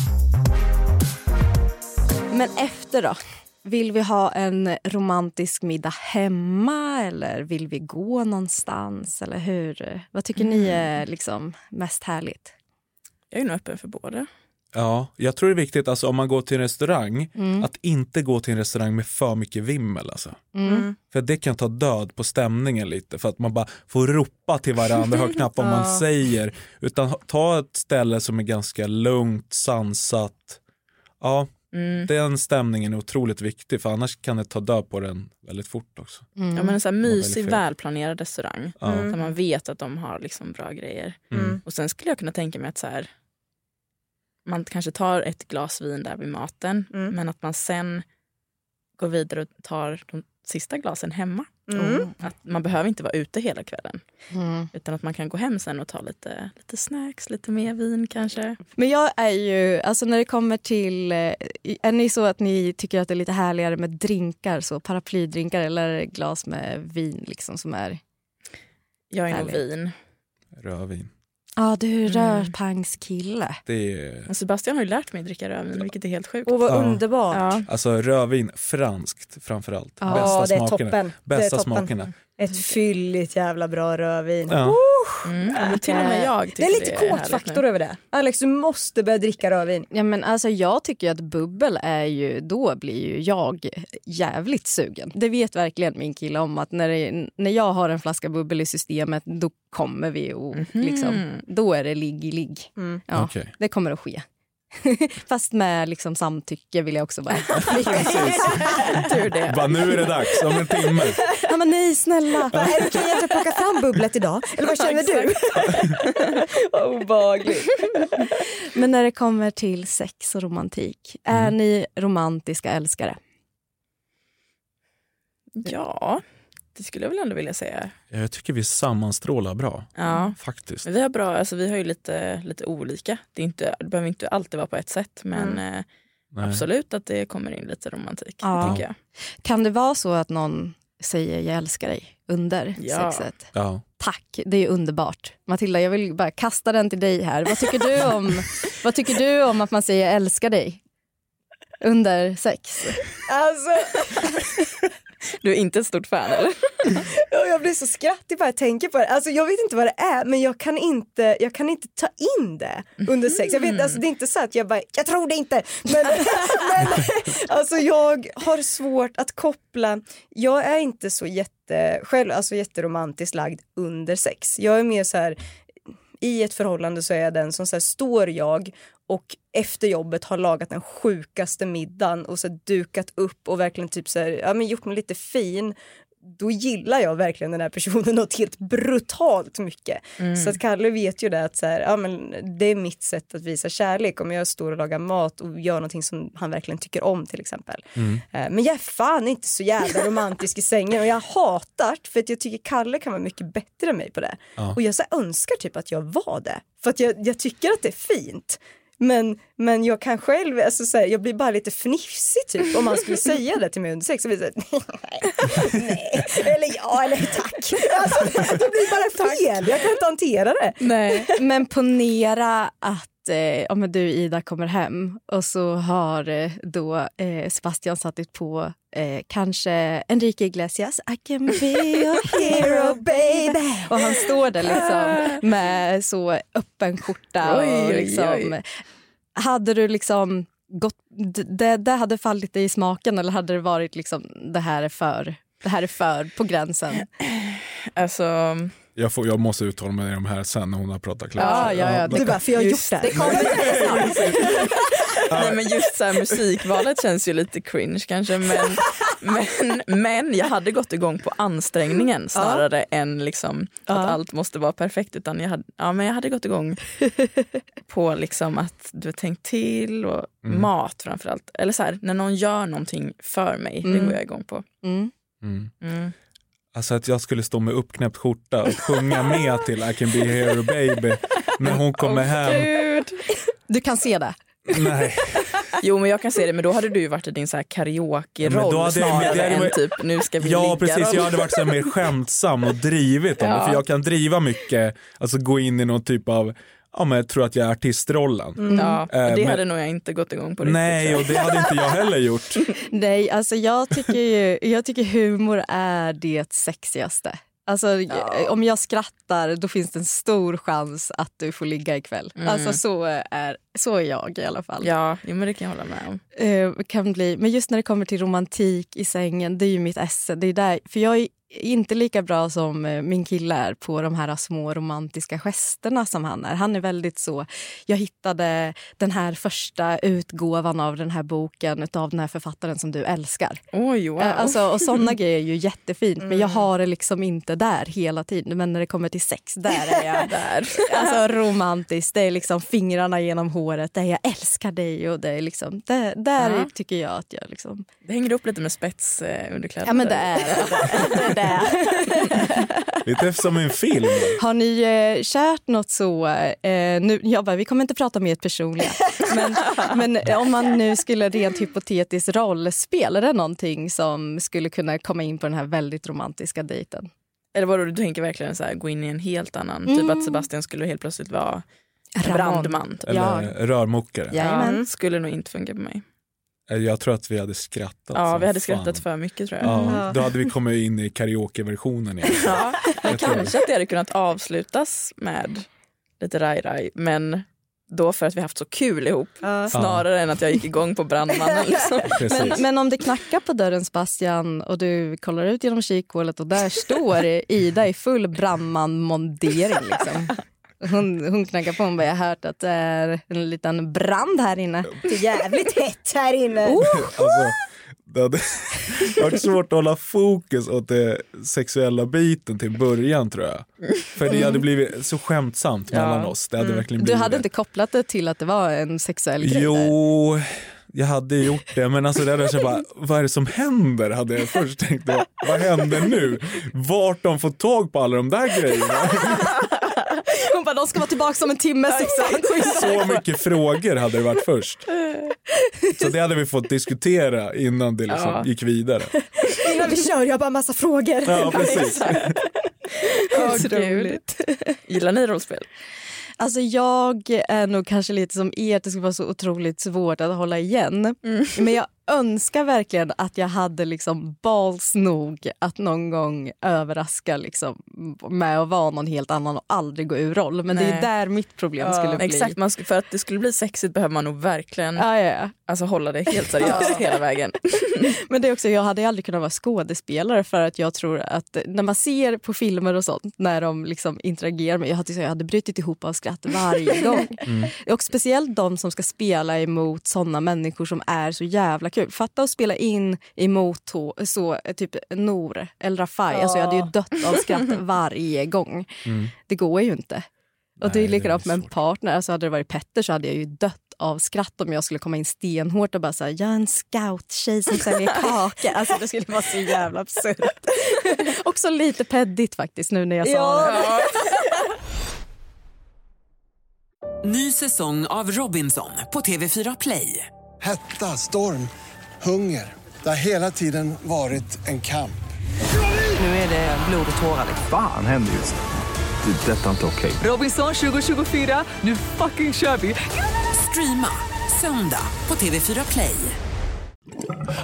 Speaker 1: Men efter då? Vill vi ha en romantisk middag hemma eller vill vi gå någonstans? Eller hur? Vad tycker ni är liksom mest härligt?
Speaker 3: Jag är nog öppen för båda.
Speaker 4: Ja, jag tror det är viktigt alltså, om man går till en restaurang,
Speaker 2: Mm.
Speaker 4: att inte gå till en restaurang med för mycket vimmel. Alltså.
Speaker 2: Mm.
Speaker 4: För det kan ta död på stämningen lite, för att man bara får ropa till varandra och hör knappt vad man säger. Utan ha- ta ett ställe som är ganska lugnt, sansat. Ja,
Speaker 2: Mm.
Speaker 4: den stämningen är otroligt viktig, för annars kan det ta död på den väldigt fort också.
Speaker 3: Ja, men en sån här mysig,
Speaker 4: fel.
Speaker 3: välplanerad restaurang där man vet att de har liksom bra grejer.
Speaker 2: Mm.
Speaker 3: Mm. Och Sen skulle jag kunna tänka mig att så här, man kanske tar ett glas vin där vid maten men att man sen går vidare och tar de sista glasen hemma.
Speaker 2: Mm.
Speaker 3: Att man behöver inte vara ute hela kvällen utan att man kan gå hem sen och ta lite, lite snacks, lite mer vin kanske.
Speaker 1: Men jag är ju, alltså när det kommer till, eh, är ni så att ni tycker att det är lite härligare med drinkar, så paraplydrinkar eller glas med vin liksom som är,
Speaker 3: Jag är nog
Speaker 1: Härligt.
Speaker 3: vin.
Speaker 4: Rödvin.
Speaker 1: ja ah, du är rörpangskille.
Speaker 4: Det är,
Speaker 3: Men Sebastian har ju lärt mig dricka rödvin vilket är helt sjukt.
Speaker 2: Och vad
Speaker 4: Ja.
Speaker 2: underbart.
Speaker 3: Ja.
Speaker 4: alltså rödvin, franskt framförallt.
Speaker 1: Ja,
Speaker 2: Ja, det är
Speaker 4: smakerna.
Speaker 2: toppen. det är
Speaker 4: Bästa
Speaker 2: toppen.
Speaker 4: smakerna.
Speaker 2: Ett fylligt jävla bra rödvin.
Speaker 4: Ja.
Speaker 3: Mm. ja, men Till och med jag
Speaker 2: Det är
Speaker 3: tycker
Speaker 2: lite
Speaker 3: härligt
Speaker 2: kåtfaktor
Speaker 3: nu.
Speaker 2: över det. Alex, du måste börja dricka rödvin.
Speaker 1: Ja, men alltså, jag tycker ju att bubbel är ju, då blir ju jag jävligt sugen. Det vet verkligen min kille om att när, det, när jag har en flaska bubbel i systemet då kommer vi och liksom, då är det ligg i ligg. Ja,
Speaker 4: Okej.
Speaker 1: Det kommer att ske. Fast med liksom samtycke vill jag också bara...
Speaker 3: Tur det.
Speaker 4: Bara, nu är det dags, om en timme.
Speaker 1: ja, men nej, snälla!
Speaker 2: Va, Är det okej att jag plockar fram bubblet idag? Eller vad känner du? Vad obehagligt.
Speaker 1: Men när det kommer till sex och romantik, är
Speaker 2: Mm.
Speaker 1: ni romantiska älskare?
Speaker 3: Ja, det skulle jag väl ändå vilja säga.
Speaker 4: Jag tycker vi sammanstrålar bra,
Speaker 3: Ja.
Speaker 4: faktiskt.
Speaker 3: Men Vi har, bra, alltså vi har ju lite, lite olika. Det, är inte, det behöver inte alltid vara på ett sätt men eh,
Speaker 4: Nej.
Speaker 3: absolut att det kommer in lite romantik.
Speaker 1: Ja.
Speaker 3: Tycker jag.
Speaker 1: Kan det vara så att någon säger jag älskar dig under
Speaker 3: Ja.
Speaker 1: sexet?
Speaker 4: Ja.
Speaker 1: Tack, det är underbart. Matilda, jag vill bara kasta den till dig här. Vad tycker du om, vad tycker du om att man säger jag älskar dig? Under sex.
Speaker 2: Alltså,
Speaker 3: Du är inte ett stort fan eller?
Speaker 2: och jag blir så skrattig bara jag tänker på det. Alltså, jag vet inte vad det är men jag kan inte, jag kan inte ta in det under sex. Jag vet, alltså, det är inte så att jag bara, jag tror det inte. Men, men alltså, jag har svårt att koppla. Jag är inte så jätte, själv, alltså, jätteromantiskt lagd under sex. Jag är mer så här, i ett förhållande så är jag den som så här, står jag och efter jobbet har lagat den sjukaste middagen och så här, dukat upp och verkligen typ så här, ja, men gjort mig lite fin då gillar jag verkligen den här personen något helt brutalt mycket.
Speaker 8: Mm.
Speaker 2: Så att Kalle vet ju det att så här, ja, men det är mitt sätt att visa kärlek om jag står och lagar mat och gör någonting som han verkligen tycker om till exempel.
Speaker 8: Mm.
Speaker 2: Eh, Men jag är fan inte så jävla romantisk i sängen och jag hatar det, för att jag tycker Kalle kan vara mycket bättre än mig på det.
Speaker 8: Ja.
Speaker 2: Och jag så här önskar typ att jag var det för att jag, jag tycker att det är fint. Men, men jag kan själv, alltså så här, jag blir bara lite fnissig typ om man skulle säga det till mig under sex. Så blir det så här, nej, eller ja, eller tack. Alltså, det blir bara fel, jag kan inte hantera det.
Speaker 1: Nej. Men ponera att eh, om du Ida kommer hem och så har eh, då eh, Sebastian satt dit på eh, kanske Enrique Iglesias I can be your hero baby och han står där liksom med så öppen skjorta
Speaker 8: Oj,
Speaker 1: och
Speaker 8: oj,
Speaker 1: liksom
Speaker 8: oj.
Speaker 1: hade du liksom gått, d- det, det hade fallit dig i smaken eller hade det varit liksom det här är för, det här är för på gränsen?
Speaker 3: Alltså,
Speaker 4: Jag, får, jag måste uttala mig om det här sen när hon har pratat klart.
Speaker 3: Ah, Ja, ja, ja, det- Du bara, för jag har Just gjort det. det. Det nej men just så här, musikvalet känns ju lite cringe kanske men, men, men jag hade gått igång på ansträngningen snarare än liksom att allt måste vara perfekt utan jag hade, ja, men jag hade gått igång på liksom att du har tänkt till och
Speaker 8: Mm.
Speaker 3: mat framförallt. Eller så här, när någon gör någonting för mig, det
Speaker 8: Mm.
Speaker 3: går jag igång på.
Speaker 4: Mm.
Speaker 3: Mm.
Speaker 4: Alltså att jag skulle stå med uppknäppt skjorta och sjunga med till I can be here baby när hon kommer hem.
Speaker 1: Du kan se det.
Speaker 4: Nej.
Speaker 3: Jo men jag kan se det men då hade du ju varit i din så här
Speaker 4: Ja, men
Speaker 3: karaoke-roll
Speaker 4: då hade jag- men det
Speaker 3: snarare
Speaker 4: hade
Speaker 3: än
Speaker 4: varit-
Speaker 3: typ nu ska vi
Speaker 4: Ja
Speaker 3: ligga
Speaker 4: precis, jag hade
Speaker 3: roll.
Speaker 4: varit så här mer skämtsam och drivit om det
Speaker 3: Ja.
Speaker 4: för jag kan driva mycket, alltså gå in i någon typ av, ja men jag tror att jag är artistrollen.
Speaker 3: Mm. Ja,
Speaker 4: Eh,
Speaker 3: det
Speaker 4: men-
Speaker 3: hade nog jag inte gått igång på riktigt.
Speaker 4: Nej och det hade inte jag heller gjort.
Speaker 1: Nej, alltså jag tycker ju, jag tycker humor är det sexigaste. Alltså, Om jag skrattar då finns det en stor chans att du får ligga ikväll.
Speaker 3: Mm.
Speaker 1: Alltså, så, är, så är jag i alla fall.
Speaker 3: Ja, jo, men det kan jag hålla med om.
Speaker 1: Eh, kan bli, men just när det kommer till romantik i sängen, det är ju mitt esse. Det är där, för jag är inte lika bra som eh, min kille är på de här små romantiska gesterna som han är. Han är väldigt så, jag hittade den här första utgåvan av den här boken utav den här författaren som du älskar.
Speaker 3: Oj, wow.
Speaker 1: Eh, Alltså, och sådana grejer är ju jättefint, men jag har det liksom inte där hela tiden. Men när det kommer till sex, där är jag
Speaker 3: där.
Speaker 1: Alltså romantiskt, det är liksom fingrarna genom håret, det är jag älskar dig och det är liksom, det, där
Speaker 3: Ja.
Speaker 1: tycker jag att jag liksom...
Speaker 3: Det hänger upp lite med spets eh, underkläder.
Speaker 1: Ja men det är det. det, är det.
Speaker 4: Lite som en film.
Speaker 1: Har ni eh, kärt något så, eh, nu, jag bara, vi kommer inte prata om ert personliga, men, men eh, om man nu skulle rent hypotetiskt rollspela, är det någonting som skulle kunna komma in på den här väldigt romantiska dejten?
Speaker 3: Eller vadå, du tänker verkligen så här, gå in i en helt annan,
Speaker 1: Mm.
Speaker 3: typ att Sebastian skulle helt plötsligt vara
Speaker 1: Ramon.
Speaker 3: brandman. Typ.
Speaker 4: Eller rörmokare.
Speaker 3: Ja, skulle nog inte funka på mig.
Speaker 4: Eh, Jag tror att vi hade skrattat
Speaker 3: Ja,
Speaker 4: som
Speaker 3: vi hade
Speaker 4: fan.
Speaker 3: skrattat för mycket tror jag.
Speaker 4: Ja, då hade vi kommit in i karaokeversionen igen.
Speaker 3: Ja, men
Speaker 4: Jag tror-
Speaker 3: kanske att det hade kunnat avslutas med lite raj-raj, men då för att vi haft så kul ihop snarare än att jag gick igång på brandmannen. Liksom.
Speaker 4: Alltså,
Speaker 1: Men, men om det knackar på dörren Sebastian och du kollar ut genom kikhålet och där står Ida i full brandman-mondering. Liksom. Hon, hon knackar på och bara, jag har hört att det är en liten brand här inne.
Speaker 2: Det är jävligt hett här inne.
Speaker 4: Alltså, det hade varit svårt att hålla fokus åt det sexuella biten till början tror jag. För det hade blivit så skämtsamt mellan oss. Det hade verkligen
Speaker 1: du
Speaker 4: blivit
Speaker 1: hade
Speaker 4: det.
Speaker 1: inte kopplat det till att det var en sexuell grej? där?
Speaker 4: Jo, jag hade gjort det men alltså det hade jag känt bara, vad är det som händer? Hade jag först tänkt, vad, vad händer nu? Vart de får tag på alla de där grejerna?
Speaker 1: Hon bara, de ska vara tillbaka om en timme. Sexuellt.
Speaker 4: Så mycket frågor hade det varit först. Så det hade vi fått diskutera innan det liksom
Speaker 2: Ja.
Speaker 4: gick vidare.
Speaker 2: Innan vi kör, jag har bara massa frågor.
Speaker 4: Ja, precis.
Speaker 3: Ja,
Speaker 1: Så
Speaker 3: gud. Gillar ni rollspel?
Speaker 1: Alltså jag är nog kanske lite som er, att det skulle vara så otroligt svårt att hålla igen.
Speaker 3: Mm.
Speaker 1: Men jag önskar verkligen att jag hade liksom balls nog att någon gång överraska liksom med att vara någon helt annan och aldrig gå ur roll. Men det är
Speaker 3: Nej.
Speaker 1: där mitt problem skulle bli.
Speaker 3: Exakt, man skulle, för att det skulle bli sexigt behöver man nog verkligen
Speaker 1: Ja, ja, ja.
Speaker 3: Alltså, hålla det helt seriöst hela vägen.
Speaker 1: Men det är också, jag hade aldrig kunnat vara skådespelare för att jag tror att när man ser på filmer och sånt när de liksom interagerar med, jag hade, jag hade brutit ihop av skratt varje gång. Och speciellt de som ska spela emot såna människor som är så jävla kul. kul. Fatta att spela in emot to, så, eh, typ Nor eller Rafai. Alltså, jag hade ju dött av skratt varje gång.
Speaker 8: Mm.
Speaker 1: Det går ju inte. Och det är likadant
Speaker 8: det
Speaker 1: med en partner. Alltså, hade det varit Petter så hade jag ju dött av skratt om jag skulle komma in stenhårt och bara säga jag är en scouttjej som säljer kakor. Alltså, det skulle vara så jävla absurt. Också lite peddigt faktiskt nu när jag sa det.
Speaker 5: Ny säsong av Robinson på TV4 Play.
Speaker 6: Hetta, storm, hunger. Det har hela tiden varit en kamp.
Speaker 5: Nu är det blod och tårar. liksom.
Speaker 7: Fan händer just det. Det är detta inte okej.
Speaker 5: Robinson 2024, nu fucking kör vi! Streama söndag på TV4 Play.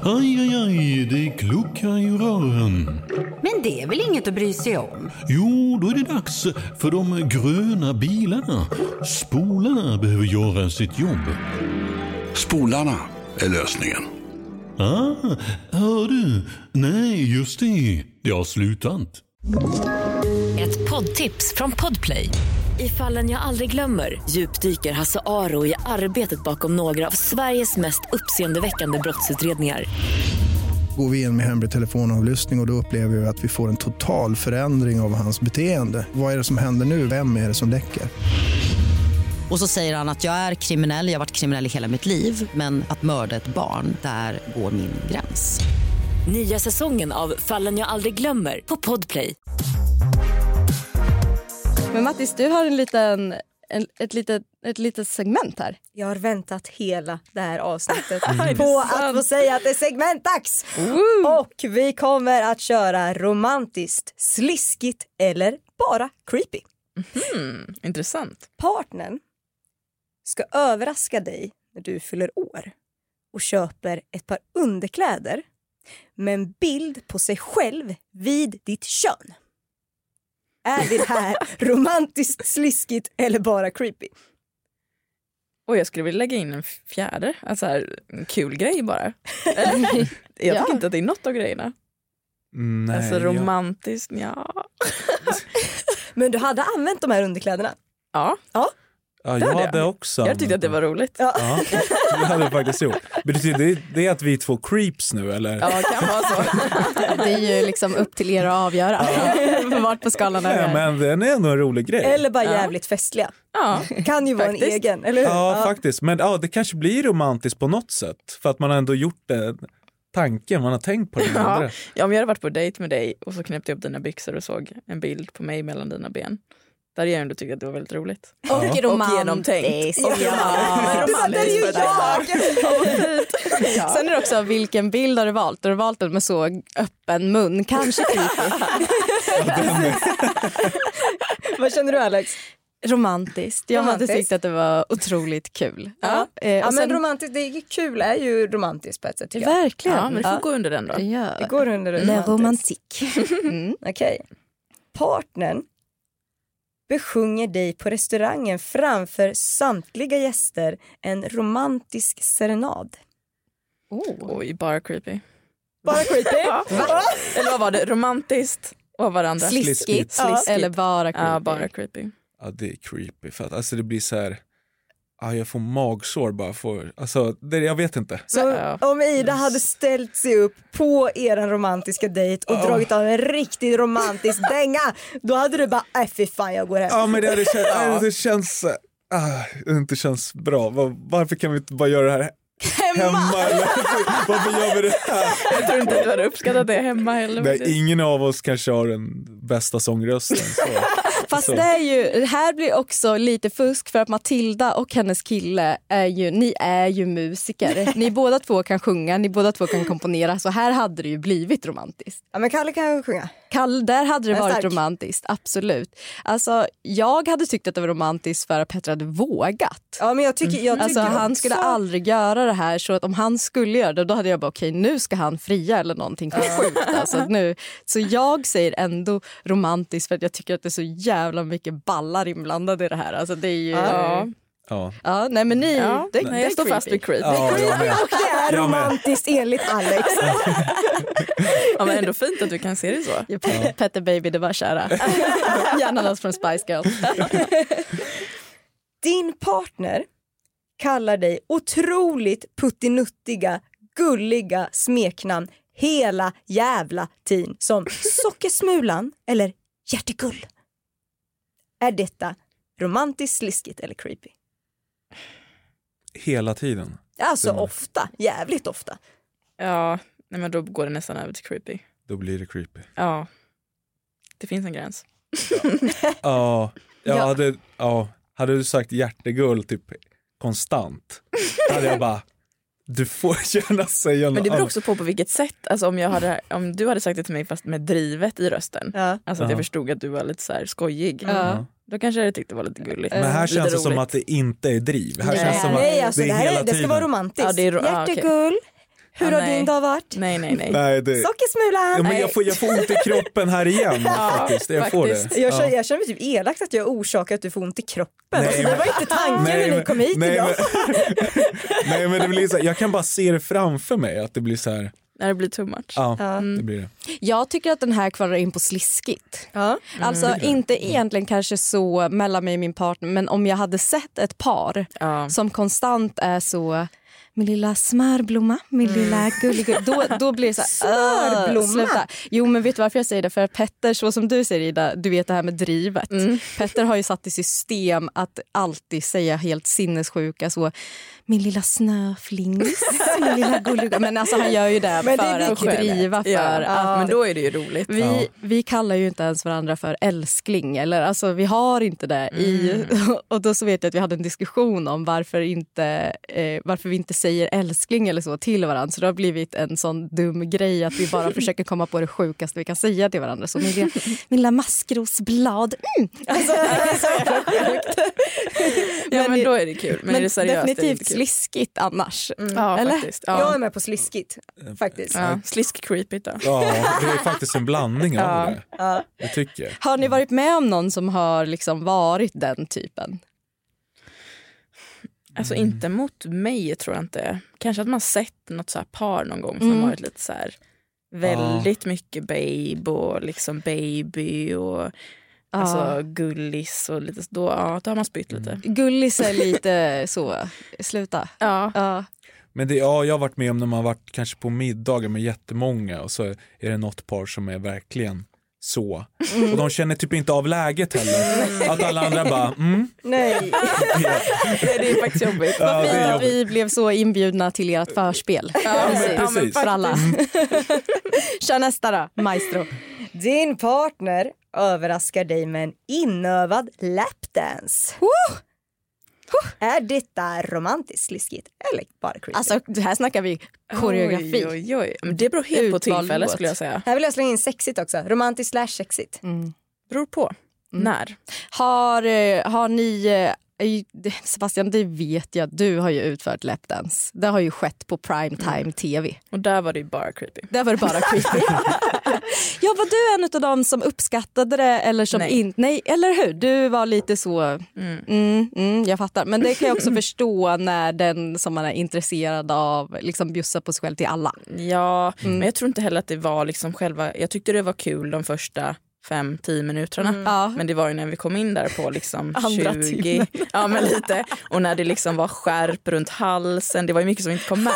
Speaker 9: Aj, aj, aj, det kluckar i rören.
Speaker 10: Men det är väl inget att bry sig om?
Speaker 9: Jo, då är det dags för de gröna bilarna. Spolarna behöver göra sitt jobb.
Speaker 11: Spolarna är lösningen.
Speaker 9: Ah, hör du? Nej, just det. Det har slutat.
Speaker 12: Ett poddtips från Podplay. I fallen jag aldrig glömmer djupdyker Hasse Aro i arbetet bakom några av Sveriges mest uppseendeväckande brottsutredningar.
Speaker 13: Går vi in med hemlig telefonavlyssning och, och då upplever vi att vi får en total förändring av hans beteende. Vad är det som händer nu? Vem är det som läcker?
Speaker 14: Och så säger han att jag är kriminell, jag har varit kriminell i hela mitt liv men att mörda ett barn, där går min gräns.
Speaker 12: Nya säsongen av Fallen jag aldrig glömmer på Podplay.
Speaker 1: Men Mattis, du har en liten, en, ett, litet, ett litet segment här.
Speaker 2: Jag har väntat hela det här avsnittet
Speaker 1: Mm.
Speaker 2: på
Speaker 1: Är det
Speaker 2: att få säga att det är segmentdags. Och vi kommer att köra romantiskt, sliskigt eller bara creepy.
Speaker 3: Intressant.
Speaker 2: Partnern ska överraska dig när du fyller år och köper ett par underkläder med en bild på sig själv vid ditt kön. Är det här romantiskt, sliskigt eller bara creepy?
Speaker 3: Och jag skulle vilja lägga in en fjärde, alltså här, en kul grej bara. Eller? jag tycker
Speaker 4: Ja.
Speaker 3: inte att det är något av grejerna.
Speaker 4: Nej,
Speaker 3: alltså
Speaker 4: jag-
Speaker 3: romantiskt, ja.
Speaker 2: Men du hade använt de här underkläderna?
Speaker 3: Ja.
Speaker 2: ja.
Speaker 4: Ja, jag hade också.
Speaker 3: Jag tyckte att det var roligt.
Speaker 4: Ja, det hade jag faktiskt gjort. Betyder det- det att vi är två creeps nu eller?
Speaker 3: Ja, kan vara så.
Speaker 1: Det är ju liksom upp till er att avgöra vart på skalan är.
Speaker 4: Nej, men den är ändå en rolig grej.
Speaker 2: Eller bara jävligt festliga. Kan ju vara en
Speaker 3: faktiskt.
Speaker 2: egen, eller hur?
Speaker 4: Ja, faktiskt. Men ja, det kanske blir romantiskt på något sätt. För att man har ändå gjort det, tanken, man har tänkt på det.
Speaker 3: Ja.
Speaker 4: Ja.
Speaker 3: ja, om jag hade varit på dejt med dig och så knäppte jag upp dina byxor och såg en bild på mig mellan dina ben. Där hade jag ändå tyckt att det var väldigt roligt.
Speaker 1: Och romantiskt.
Speaker 3: genomtänkt.
Speaker 1: Ja.
Speaker 3: Och
Speaker 1: Det
Speaker 3: romantiskt.
Speaker 1: hade ju
Speaker 3: för dig.
Speaker 1: Sen är det också vilken bild har du valt? Har du valt den med så öppen mun? Kanske creepy.
Speaker 2: Vad känner du Alex?
Speaker 1: Romantiskt. Jag hade
Speaker 2: Romantiskt.
Speaker 1: tyckt att det var otroligt kul.
Speaker 2: Ja,
Speaker 1: Eh, och
Speaker 2: ja men
Speaker 1: sen-
Speaker 2: romantiskt, det är kul är ju romantiskt på ett sätt. tycker jag.
Speaker 1: Verkligen. Ja.
Speaker 3: under den då.
Speaker 1: Ja.
Speaker 2: Det går under
Speaker 1: Le
Speaker 2: romantiskt.
Speaker 1: romantik.
Speaker 2: Okej. Partnern besjunger dig på restaurangen framför samtliga gäster en romantisk serenad.
Speaker 3: Oj, bara creepy.
Speaker 2: Bara creepy?
Speaker 3: ja. Eller vad var det? Romantiskt och varandra.
Speaker 4: Sliskigt. Sliskigt.
Speaker 1: Eller bara creepy.
Speaker 3: Ja, bara creepy.
Speaker 4: ja, det är creepy. För att, alltså det blir så här, ja, jag får magsår bara för, alltså det, jag vet inte.
Speaker 2: Så om Ida hade ställt sig upp på er romantiska dejt och
Speaker 4: Ja.
Speaker 2: dragit av en riktigt romantisk dänga, då hade du bara äh fy fan jag går hem.
Speaker 4: Ja men det, hade känt,
Speaker 2: Ja.
Speaker 4: nej, det känns, äh, ah, det inte känns bra. Var, varför kan vi inte bara göra det här hemma? eller? varför gör vi det här?
Speaker 3: Jag tror inte att du hade uppskattat det hemma heller. faktiskt.
Speaker 4: Nej, ingen av oss kanske har den bästa sångrösten. Så.
Speaker 1: Fast
Speaker 4: Så.
Speaker 1: det är ju, det här blir också lite fusk för att Matilda och hennes kille är ju, ni är ju musiker. Ni båda två kan sjunga, ni båda två kan komponera så här hade det ju blivit romantiskt.
Speaker 2: Ja men Kalle kan ju sjunga.
Speaker 1: Kall, där hade det
Speaker 2: Jag är
Speaker 1: varit
Speaker 2: stark.
Speaker 1: romantiskt, absolut. Alltså, jag hade tyckt att det var romantiskt för att Petter hade vågat.
Speaker 2: Ja, men jag tycker, jag tycker
Speaker 4: Mm.
Speaker 1: alltså, han
Speaker 2: också-
Speaker 1: skulle aldrig göra det här så att om han skulle göra det då hade jag bara okej nu ska han fria eller någonting sjukt. Alltså, nu. Så jag säger ändå romantiskt för att jag tycker att det är så jävla mycket ballar inblandade i det här. Alltså, det är ju...
Speaker 3: Ja.
Speaker 4: Ja.
Speaker 1: Ja, nej men ni,
Speaker 3: Ja,
Speaker 1: det,
Speaker 3: nej,
Speaker 1: det
Speaker 3: jag
Speaker 1: är
Speaker 3: står fast vid creepy.
Speaker 4: Ja,
Speaker 2: Det
Speaker 4: jag
Speaker 2: är
Speaker 4: med.
Speaker 2: creepy och det är
Speaker 4: Jag med.
Speaker 2: romantiskt enligt Alex.
Speaker 3: Ja, men ändå fint att du kan se det så.
Speaker 1: Ja, Pe- Petter Baby, det var kära. Gärna något från Spice Girls.
Speaker 2: Din partner kallar dig otroligt puttinuttiga gulliga smeknamn hela jävla tiden som Sockersmulan eller Hjärtegull. Är detta romantiskt, sliskigt eller creepy?
Speaker 4: Hela tiden.
Speaker 2: Alltså
Speaker 4: Det-
Speaker 2: ofta, jävligt ofta.
Speaker 3: Ja, nej, men då går det nästan över till creepy.
Speaker 4: Då blir det creepy.
Speaker 3: Ja, det finns en gräns.
Speaker 4: Ja, jag
Speaker 3: Ja.
Speaker 4: Hade, ja. hade du sagt hjärtegull typ konstant, då hade jag bara, du får gärna säga något
Speaker 3: Men det beror
Speaker 4: annat.
Speaker 3: också på på vilket sätt. Alltså om, jag hade, om du hade sagt det till mig fast med drivet i rösten, alltså
Speaker 4: Ja.
Speaker 3: att jag förstod att du var lite så här skojig,
Speaker 4: Ja.
Speaker 3: då kanske jag tyckte det var lite gulligt.
Speaker 4: Men här
Speaker 3: lite
Speaker 4: känns det
Speaker 3: roligt.
Speaker 4: som att det inte är driv. Här
Speaker 3: Nej.
Speaker 4: känns det som att
Speaker 2: Nej, alltså,
Speaker 4: det
Speaker 2: det,
Speaker 4: är
Speaker 2: här är,
Speaker 4: hela
Speaker 2: det ska
Speaker 4: tiden.
Speaker 2: vara romantiskt.
Speaker 3: Ja, det är ro- ja, okej.
Speaker 2: Hjärtegull, hur
Speaker 3: Ja,
Speaker 2: har
Speaker 3: nej.
Speaker 2: din dag varit?
Speaker 3: Nej, nej, nej.
Speaker 4: Nej, det-
Speaker 2: Sockersmulan!
Speaker 4: Ja, men jag, får, jag får ont i kroppen här igen
Speaker 2: Ja,
Speaker 4: faktiskt. Jag får det.
Speaker 2: Jag,
Speaker 4: Ja.
Speaker 2: känner, jag känner mig typ elakt att jag orsakar att du får ont i kroppen.
Speaker 4: Nej,
Speaker 2: alltså, det
Speaker 4: men-
Speaker 2: var inte tanken
Speaker 4: Nej,
Speaker 2: när ni
Speaker 4: men-
Speaker 2: kom hit
Speaker 4: nej,
Speaker 2: idag.
Speaker 4: Nej men det blir så här, jag kan bara se det framför mig att det blir så här,
Speaker 3: När det blir too much.
Speaker 4: ja,
Speaker 1: Ja.
Speaker 4: det blir det.
Speaker 1: Jag tycker att den här kvalar in på sliskigt. Alltså
Speaker 4: Mm.
Speaker 1: inte egentligen kanske så mellan mig och min partner men om jag hade sett ett par som konstant är så min lilla smörblomma, min lilla gullig, då, då blir det så här, "Åh,
Speaker 2: Smörblomma?
Speaker 1: sluta." Jo men vet du varför jag säger det? För att Petter, så som du säger Ida, du vet det här med drivet.
Speaker 3: Mm.
Speaker 1: Petter har ju satt i system att alltid säga helt sinnessjuka så, min lilla snöflingis, min lilla gulliga. Men alltså han gör ju det
Speaker 3: Men det
Speaker 1: för
Speaker 3: är
Speaker 1: att
Speaker 3: viktigt.
Speaker 1: driva för
Speaker 3: Ja,
Speaker 1: att
Speaker 3: men då är det ju roligt.
Speaker 1: vi,
Speaker 3: Ja.
Speaker 1: vi kallar ju inte ens varandra för älskling. Eller, alltså, vi har inte det. I,
Speaker 3: Mm.
Speaker 1: och då så vet jag att vi hade en diskussion om varför, inte, eh, varför vi inte säger älskling eller så till varandra. Så det har blivit en sån dum grej att vi bara försöker komma på det sjukaste vi kan säga till varandra. Så min lilla, min lilla maskrosblad. Mm. Alltså, det är så jävla sjukt.
Speaker 3: Ja, men då är det kul. Men är det seriöst är det inte
Speaker 1: definitivt
Speaker 3: kul. Mm.
Speaker 1: sliskigt annars.
Speaker 3: Ja,
Speaker 1: eller?
Speaker 3: faktiskt. Ja.
Speaker 2: Jag är med på sliskigt faktiskt.
Speaker 3: Ja, slisk creepy då.
Speaker 4: Ja, det är faktiskt en blandning av
Speaker 1: Ja.
Speaker 4: det. Jag tycker.
Speaker 1: Har ni varit med om någon som har liksom varit den typen?
Speaker 3: Alltså inte mot mig tror jag inte. Kanske att man sett något så här par någon gång som
Speaker 1: Mm.
Speaker 3: har varit lite så här väldigt mycket babe och liksom baby och alltså gullis och lite då, ja, då har man spytt lite.
Speaker 1: Gullis är lite så, sluta.
Speaker 3: Ja.
Speaker 4: Men det, ja, jag har varit med om när man har varit kanske på middagar med jättemånga och så är det något par som är verkligen så.
Speaker 2: Mm.
Speaker 4: Och de känner typ inte av läget heller. Att alla andra bara, mm,
Speaker 2: Nej.
Speaker 3: Nej, det är faktiskt jobbigt.
Speaker 4: Ja,
Speaker 1: Vad
Speaker 4: det
Speaker 1: fint
Speaker 4: är
Speaker 1: att vi blev så inbjudna till ert förspel.
Speaker 3: Ja, men precis.
Speaker 1: För alla.
Speaker 4: Mm.
Speaker 1: Kör nästa då, maestro.
Speaker 2: Din partner överraskar dig med en inövad lapdance. Är detta romantiskt sliskigt eller bara creepy?
Speaker 1: Alltså, här snackar vi koreografi.
Speaker 3: Oj, oj, oj. Men det beror helt på
Speaker 1: Utvald
Speaker 3: tillfället
Speaker 1: låt.
Speaker 3: skulle jag säga.
Speaker 2: Här vill jag slänga in sexigt också. Romantiskt slash sexigt.
Speaker 1: Mm.
Speaker 3: Beror på. När?
Speaker 1: Har, eh, har ni... eh, i- det- Sebastian, det vet jag. Du har ju utfört lapdance. Det har ju skett på
Speaker 4: Mm.
Speaker 1: primetime tv.
Speaker 3: Och där var det ju bara creepy.
Speaker 1: Där var det bara creepy. ja, var du en av dem som uppskattade det eller som
Speaker 3: Nej.
Speaker 1: inte? Nej, eller hur? Du var lite så... Mm, mm, jag fattar. Men det kan jag också förstå när den som man är intresserad av liksom bjussar på sig själv till alla.
Speaker 3: Ja,
Speaker 2: Mm.
Speaker 3: men jag tror inte heller att det var liksom själva... Jag tyckte det var kul de första fem, tio minuterna.
Speaker 2: Mm.
Speaker 3: Men det var ju när vi kom in där på liksom
Speaker 1: Andra
Speaker 3: 20.
Speaker 1: timmen.
Speaker 3: Ja, men lite. Och när det liksom var skärp runt halsen. Det var ju mycket som inte kom med.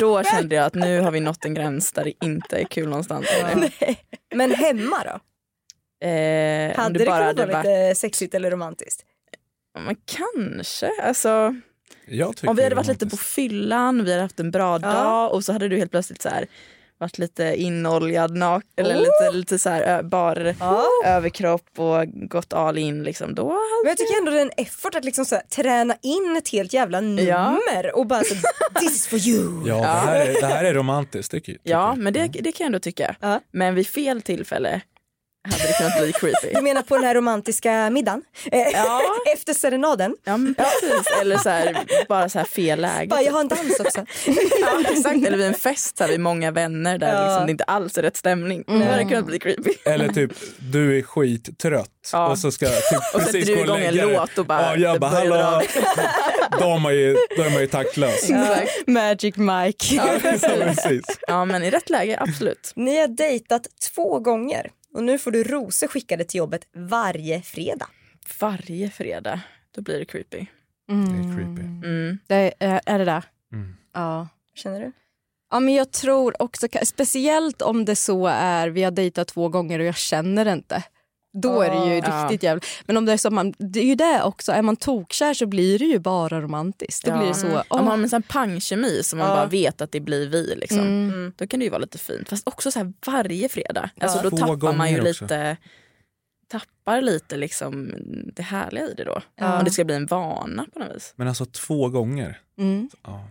Speaker 3: Då kände jag att nu har vi nått en gräns där det inte är kul någonstans. längre.
Speaker 2: Men hemma då?
Speaker 3: Eh, om
Speaker 2: Hade det,
Speaker 3: bara
Speaker 2: kunnat
Speaker 3: hade
Speaker 2: vara lite sexigt eller romantiskt?
Speaker 3: Ja, Men kanske. Alltså,
Speaker 4: jag tycker
Speaker 3: om vi hade varit
Speaker 4: det är
Speaker 3: lite på fyllan, vi hade haft en bra dag och så hade du helt plötsligt så här varit lite inoljad naken eller
Speaker 2: Oh.
Speaker 3: lite, lite så här ö- bar överkropp och gått all in liksom då.
Speaker 2: Men jag tycker ändå det är en effort att liksom så här, träna in ett helt jävla nummer och bara så här, this is for you.
Speaker 4: Ja, det här är, det här är romantiskt tycker Mm. jag.
Speaker 3: Ja, men det, det kan jag ändå tycka. Men vid fel tillfälle hade det kunnat bli
Speaker 2: Du
Speaker 3: creepy.
Speaker 2: menar på den här romantiska middagen? Eh, Efter serenaden?
Speaker 3: Ja, men precis. Eller så här, bara så här fel läge.
Speaker 2: Bara, jag har en dans också.
Speaker 3: Ja, exakt. Eller vid en fest så här, vid många vänner där
Speaker 2: Ja.
Speaker 3: liksom, det inte alls är rätt stämning. Då hade det kunnat bli creepy.
Speaker 4: Eller typ, du är skittrött
Speaker 3: Ja.
Speaker 4: och så ska jag typ
Speaker 3: Och
Speaker 4: precis
Speaker 3: sätter du
Speaker 4: gå
Speaker 3: igång en
Speaker 4: lägga dig.
Speaker 3: låt och bara,
Speaker 4: ja, jag
Speaker 3: det
Speaker 4: bara
Speaker 3: börjar dra
Speaker 4: hallå, då är man ju, då är man ju taktlös.
Speaker 1: Magic Mike.
Speaker 3: Ja, precis.
Speaker 4: Precis.
Speaker 3: ja, men i rätt läge, absolut.
Speaker 2: Ni har dejtat två gånger och nu får du rosor skickade till jobbet varje fredag.
Speaker 3: Varje fredag, då blir det creepy.
Speaker 4: Det är creepy.
Speaker 3: Mm.
Speaker 1: Det är, är det där?
Speaker 4: Mm.
Speaker 1: Ja.
Speaker 2: Känner du?
Speaker 1: Ja, men jag tror också, speciellt om det så är vi har dejtat två gånger och jag känner det inte. Då är det ju
Speaker 3: Ah.
Speaker 1: riktigt jävligt. Men om det är så att man, det är ju det också, är man tokkär så blir det ju bara romantiskt. Då blir det så,
Speaker 3: Mm.
Speaker 1: åh.
Speaker 3: Om man har en sån här pangkemi som man
Speaker 1: Ja.
Speaker 3: bara vet att det blir vi. Liksom.
Speaker 1: Mm.
Speaker 3: Då kan det ju vara lite fint. Fast också så här varje fredag.
Speaker 1: Ja.
Speaker 3: Alltså, då
Speaker 1: Två
Speaker 3: tappar man ju
Speaker 1: gånger också.
Speaker 3: lite tappar lite liksom det härliga i det då.
Speaker 4: Ja.
Speaker 3: Om det ska bli en vana på något vis.
Speaker 4: Men alltså två gånger?
Speaker 1: Mm.
Speaker 4: Ja.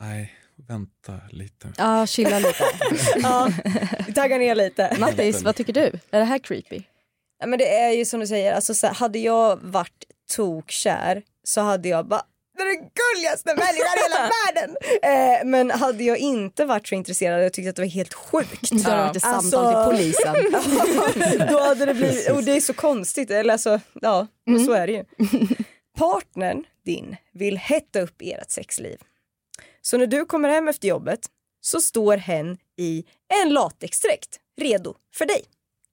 Speaker 4: Nej, vänta lite.
Speaker 1: Ja, chilla lite.
Speaker 2: ja, vi taggar ner lite.
Speaker 1: Mattis, vad tycker du? Är det här creepy?
Speaker 2: Ja, men det är ju som du säger, alltså, så här, hade jag varit tokkär så hade jag bara det är den gulligaste människan i hela världen! Eh, men hade jag inte varit så intresserad hade jag tyckt att det var helt sjukt.
Speaker 1: Då hade det varit ett
Speaker 2: alltså-
Speaker 1: samtal till polisen.
Speaker 2: då hade det blivit, och det är så konstigt, eller alltså, ja, men så är det ju. Partnern din vill hetta upp ert sexliv. Så när du kommer hem efter jobbet så står hen i en latexdräkt redo för dig.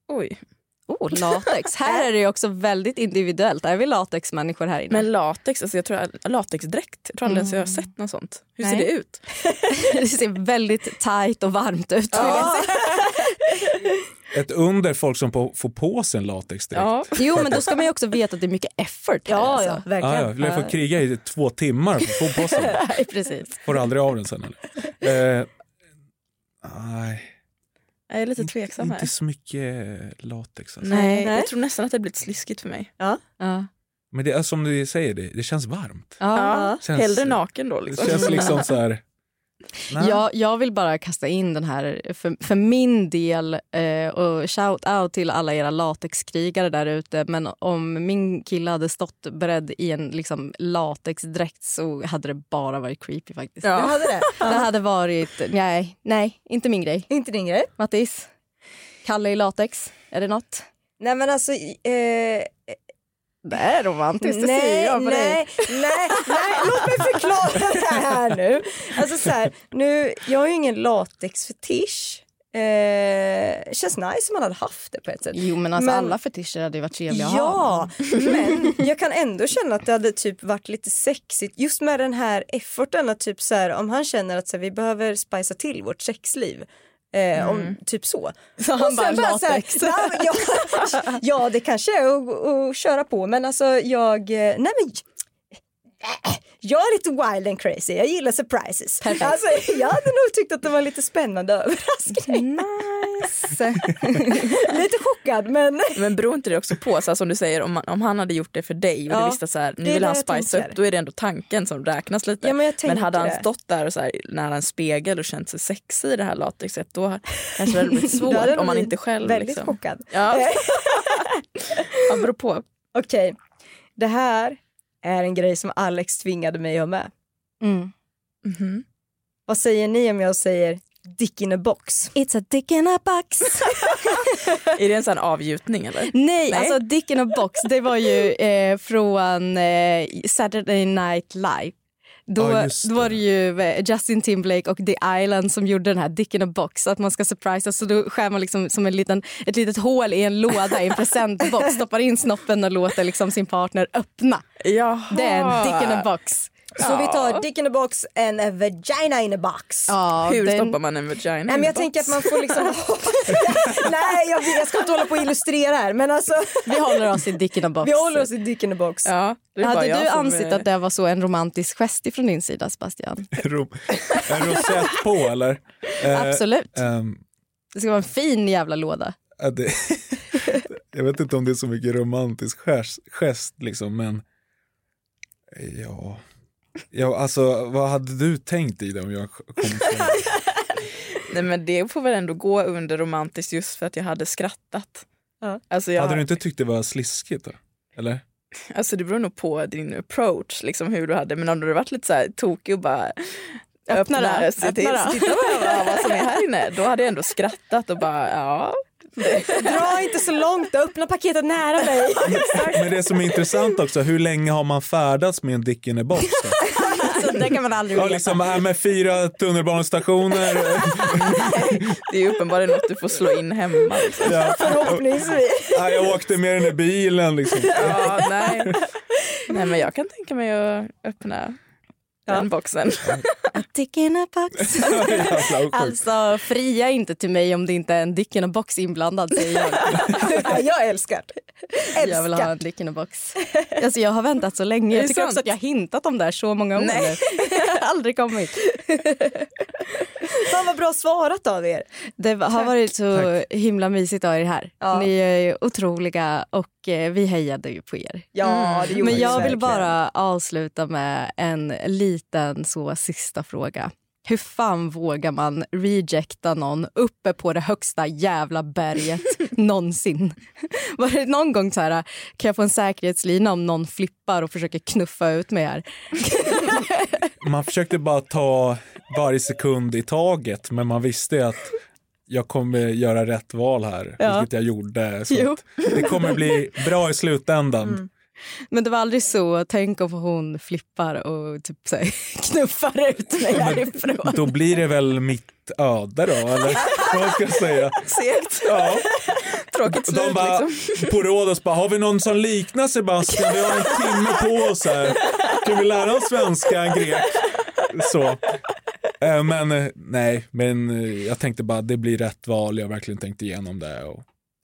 Speaker 3: Oj.
Speaker 1: Oh, latex. Här är det ju också väldigt individuellt. Är vi latexmänniskor här inne?
Speaker 3: Men latex, alltså jag tror latexdräkt, jag tror aldrig ens jag har sett något sånt. Hur ser
Speaker 1: Nej.
Speaker 3: det ut?
Speaker 1: det ser väldigt tajt och varmt ut.
Speaker 4: Ett under folk som på, får på sig en latexdräkt.
Speaker 1: Jo, men då ska man ju också veta att det är mycket effort. Här, ja, alltså.
Speaker 4: Ah, ja, jag får kriga i två timmar för att få på sig den.
Speaker 1: Nej, precis.
Speaker 4: Får aldrig av den sen eller? Eh, nej,
Speaker 3: Jag är lite tveksam här.
Speaker 4: inte så mycket latex. Alltså.
Speaker 3: Nej, jag tror nästan att det har blivit sliskigt för mig.
Speaker 2: Ja.
Speaker 1: Ja.
Speaker 4: Men det är som du säger, det, det känns varmt.
Speaker 3: Ja.
Speaker 4: Känns-
Speaker 3: Hellre naken då.
Speaker 4: Det
Speaker 3: Liksom.
Speaker 4: känns liksom så här... Nej.
Speaker 1: Jag, jag vill bara kasta in den här, för, för min del, eh, och shout out till alla era latexkrigare där ute. Men om min kille hade stått beredd i en liksom, latexdräkt så hade det bara varit creepy faktiskt.
Speaker 2: Ja. Det hade det.
Speaker 1: det hade varit, nej, nej, inte min grej.
Speaker 2: Inte din grej.
Speaker 1: Mattis, Kalle i latex, är det något?
Speaker 2: Nej men alltså... Eh,
Speaker 1: det är romantiskt, det
Speaker 2: nej,
Speaker 1: ser jag på
Speaker 2: nej,
Speaker 1: dig.
Speaker 2: Nej, nej, låt mig förklara det här nu. Alltså så här, nu, jag har ju ingen latexfetisch. Eh, känns nice om man hade haft det på ett sätt.
Speaker 1: Jo men alltså alla fetischer hade ju varit trevliga att ha.
Speaker 2: Ja, men jag kan ändå känna att det hade typ varit lite sexigt just med den här efforten att typ så här om han känner att så här, vi behöver spicea till vårt sexliv eh, om, typ så.
Speaker 1: Mm. Så
Speaker 2: Och
Speaker 1: han
Speaker 2: sen
Speaker 1: bara,
Speaker 2: så här,
Speaker 1: latex.
Speaker 2: "Nej, men ja, ja, det kanske är att- att köra på men alltså jag, eh, nej men nej, jag är lite wild and crazy, jag gillar surprises.
Speaker 1: Perfekt.
Speaker 2: Alltså, jag hade nog tyckt att det var lite spännande överraskning.
Speaker 1: Nice.
Speaker 2: lite chockad men
Speaker 3: Men beror inte det också på, så här, som du säger, om, man, om han hade gjort det för dig och
Speaker 2: Ja,
Speaker 3: du visste att så här, nu
Speaker 2: det är
Speaker 3: vill
Speaker 2: det
Speaker 3: han
Speaker 2: jag
Speaker 3: spicea upp,
Speaker 2: tänker.
Speaker 3: då är det ändå tanken som räknas lite.
Speaker 2: Ja, men jag tänker
Speaker 3: hade han
Speaker 2: det.
Speaker 3: stått där och så här, nära en spegel och känt sig sexig i det här latexet, då kanske det hade blivit
Speaker 2: Då hade
Speaker 3: svårt
Speaker 2: jag
Speaker 3: om man
Speaker 2: blivit
Speaker 3: inte själv...
Speaker 2: Väldigt
Speaker 3: liksom.
Speaker 2: chockad.
Speaker 3: Ja. ja, beror på.
Speaker 2: Okej, det här är en grej som Alex tvingade mig att ha med.
Speaker 1: Mm.
Speaker 3: mhm.
Speaker 2: Vad säger ni om jag säger dick in a box?
Speaker 1: It's a dick in a box.
Speaker 3: Är det en sån här avgjutning eller?
Speaker 1: Nej, alltså Dick in a box, det var ju eh, från eh, Saturday Night Live. Då,
Speaker 3: Ja, just
Speaker 1: då var det ju eh, Justin Timberlake och The Island som gjorde den här Dick in a box, att man ska surprisa. Så då skär man liksom som en liten, ett litet hål i en låda i en presentbox, stoppar in snoppen och låter liksom sin partner öppna.
Speaker 3: Jaha.
Speaker 1: Det är en Dick in a box.
Speaker 2: Så vi tar dick in a box and a vagina in a box.
Speaker 1: Ja,
Speaker 3: Hur stoppar man en vagina
Speaker 2: Nej, men jag tänker att man får liksom... Nej, jag, jag ska inte hålla på och illustrera här. Men alltså,
Speaker 1: Vi håller oss i Dick in a box.
Speaker 2: vi håller oss i dick in a box.
Speaker 3: Ja, det är bara
Speaker 1: Hade
Speaker 3: jag
Speaker 1: du
Speaker 3: som,
Speaker 1: ansett
Speaker 3: eh,
Speaker 1: att det var så en romantisk gest från din sida, Sebastian?
Speaker 4: Rom- en rosett på eller? Eh,
Speaker 1: Absolut.
Speaker 4: ehm,
Speaker 1: Det ska vara en fin jävla låda.
Speaker 4: ja, det, jag vet inte om det är så mycket romantisk gest, gest liksom, men eh, ja. ja, alltså vad hade du tänkt i det om jag kom från
Speaker 3: Nej men det får väl ändå gå under romantiskt just för att jag hade skrattat.
Speaker 2: Ja.
Speaker 3: Alltså, jag,
Speaker 4: Hade du inte tyckt det var sliskigt då? Eller?
Speaker 3: alltså det beror nog på din approach, liksom hur du hade, men om du hade varit lite så här tokig och bara
Speaker 1: Öppna då,
Speaker 3: öppna, se
Speaker 1: öppna
Speaker 3: till,
Speaker 1: då.
Speaker 3: titta vad, vad som är här inne, då hade jag ändå skrattat och bara ja.
Speaker 2: Dra inte så långt, då. öppna paketet nära mig.
Speaker 4: Men det som är intressant också, hur länge har man färdats med en dick in a box? Då?
Speaker 1: Alltså, det kan man aldrig
Speaker 4: Ja,
Speaker 1: veta.
Speaker 4: liksom, äh, med fyra tunnelbanestationer.
Speaker 3: Det är ju uppenbarligen något du får slå in hemma. Liksom.
Speaker 4: Ja.
Speaker 2: Förhoppningsvis.
Speaker 4: Ja, jag åkte med den där bilen liksom.
Speaker 3: Ja, nej. nej men jag kan tänka mig att öppna den boxen.
Speaker 1: A dick in a box. alltså, fria inte till mig om det inte är en dick in a box inblandad, säger jag.
Speaker 2: jag älskar det.
Speaker 1: Jag vill ha en dick in a box. Alltså, jag har väntat så länge. Jag
Speaker 2: Är det
Speaker 1: tycker
Speaker 2: sant?
Speaker 1: också att jag har hintat om det här så många år
Speaker 2: Nej.
Speaker 1: nu. Aldrig kommit.
Speaker 2: Fan vad bra svarat av er.
Speaker 1: Det har
Speaker 2: Tack.
Speaker 1: varit så himla mysigt att ha er här. Ni är ju otroliga och eh, vi hejade ju på er.
Speaker 2: Ja, det gjorde
Speaker 1: Mm. Men
Speaker 2: vi
Speaker 1: jag vill
Speaker 2: verkligen.
Speaker 1: bara avsluta med en liten så sista fråga. Hur fan vågar man rejecta någon uppe på det högsta jävla berget någonsin? Var det någon gång så här, kan jag få en säkerhetslina om någon flippar och försöker knuffa ut mig här?
Speaker 4: Man försökte bara ta varje sekund i taget men man visste ju att jag kommer göra rätt val här,
Speaker 1: Ja.
Speaker 4: vilket jag gjorde. Så
Speaker 1: Jo. Mm.
Speaker 4: att det kommer bli bra i slutändan.
Speaker 1: Men det var aldrig så, tänk om hon flippar och typ så här, knuffar ut mig därifrån.
Speaker 4: Då blir det väl mitt öde då, eller vad ska jag säga?
Speaker 3: Segt.
Speaker 4: Ja.
Speaker 3: Tråkigt slut
Speaker 4: De bara,
Speaker 3: liksom.
Speaker 4: på Rhodos bara, har vi någon som liknar Sebastian? Vi har en timme på oss här. Kan vi lära oss svenska, en grek? Så. Eh, Men eh, nej, men eh, jag tänkte bara det blir rätt val. Jag har verkligen tänkt igenom det. Och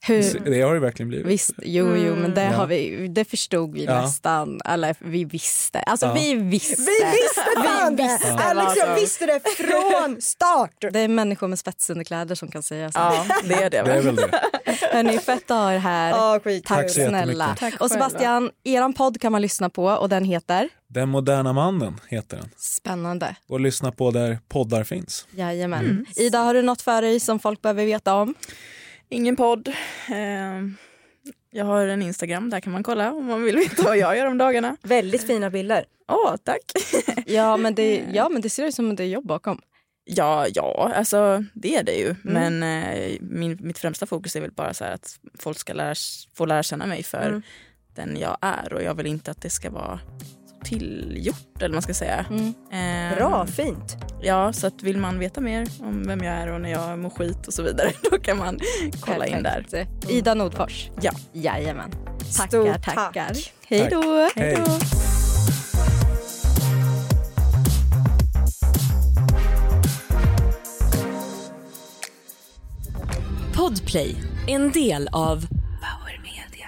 Speaker 3: Mm.
Speaker 1: Hur?
Speaker 4: Det har det verkligen blivit.
Speaker 1: Visst, jo, jo, men det,
Speaker 4: Mm. Ja.
Speaker 1: har vi, det förstod vi
Speaker 4: Ja.
Speaker 1: nästan. Eller vi visste. Alltså,
Speaker 4: Ja.
Speaker 1: vi visste.
Speaker 2: Vi visste fan
Speaker 1: vi
Speaker 2: det!
Speaker 1: visste vad
Speaker 2: Alex jag
Speaker 1: som-
Speaker 2: visste det från start.
Speaker 1: Det är människor med spetsunderkläder som kan säga så.
Speaker 3: Ja, det är det.
Speaker 4: Det är väl det.
Speaker 1: Hörni, fett att ha er här.
Speaker 2: Ja,
Speaker 1: Tack,
Speaker 2: skitkul.
Speaker 4: Tack så jättemycket.
Speaker 1: snälla.
Speaker 4: Tack
Speaker 1: och Sebastian, er podd kan man lyssna på och den heter?
Speaker 4: Den moderna mannen heter den.
Speaker 1: Spännande.
Speaker 4: Och lyssna på där poddar finns.
Speaker 1: Jajamän.
Speaker 3: Mm.
Speaker 1: Ida, har du något för dig som folk behöver veta om?
Speaker 3: Ingen podd. Eh, jag har en Instagram, där kan man kolla om man vill veta vad jag gör om dagarna.
Speaker 2: Väldigt fina bilder.
Speaker 3: Åh, tack.
Speaker 1: Ja, men det, ja, men det ser ut som om det är jobb bakom.
Speaker 3: Ja, ja, alltså det är det ju.
Speaker 1: Mm.
Speaker 3: Men eh, min, mitt främsta fokus är väl bara så här att folk ska lära, få lära känna mig för
Speaker 1: Mm.
Speaker 3: den jag är och jag vill inte att det ska vara så tillgjort eller vad man ska säga.
Speaker 1: Mm.
Speaker 3: Eh,
Speaker 2: Bra, fint.
Speaker 3: Ja, så att vill man veta mer om vem jag är och när jag mår skit och så vidare då kan man kolla in där.
Speaker 1: Perfekt. Ida Nordfors?
Speaker 3: Ja.
Speaker 1: Jajamän. Tackar,
Speaker 3: Stort tack.
Speaker 1: tackar. Hej då.
Speaker 3: Tack. Hej.
Speaker 12: Podplay, en del av Power Media.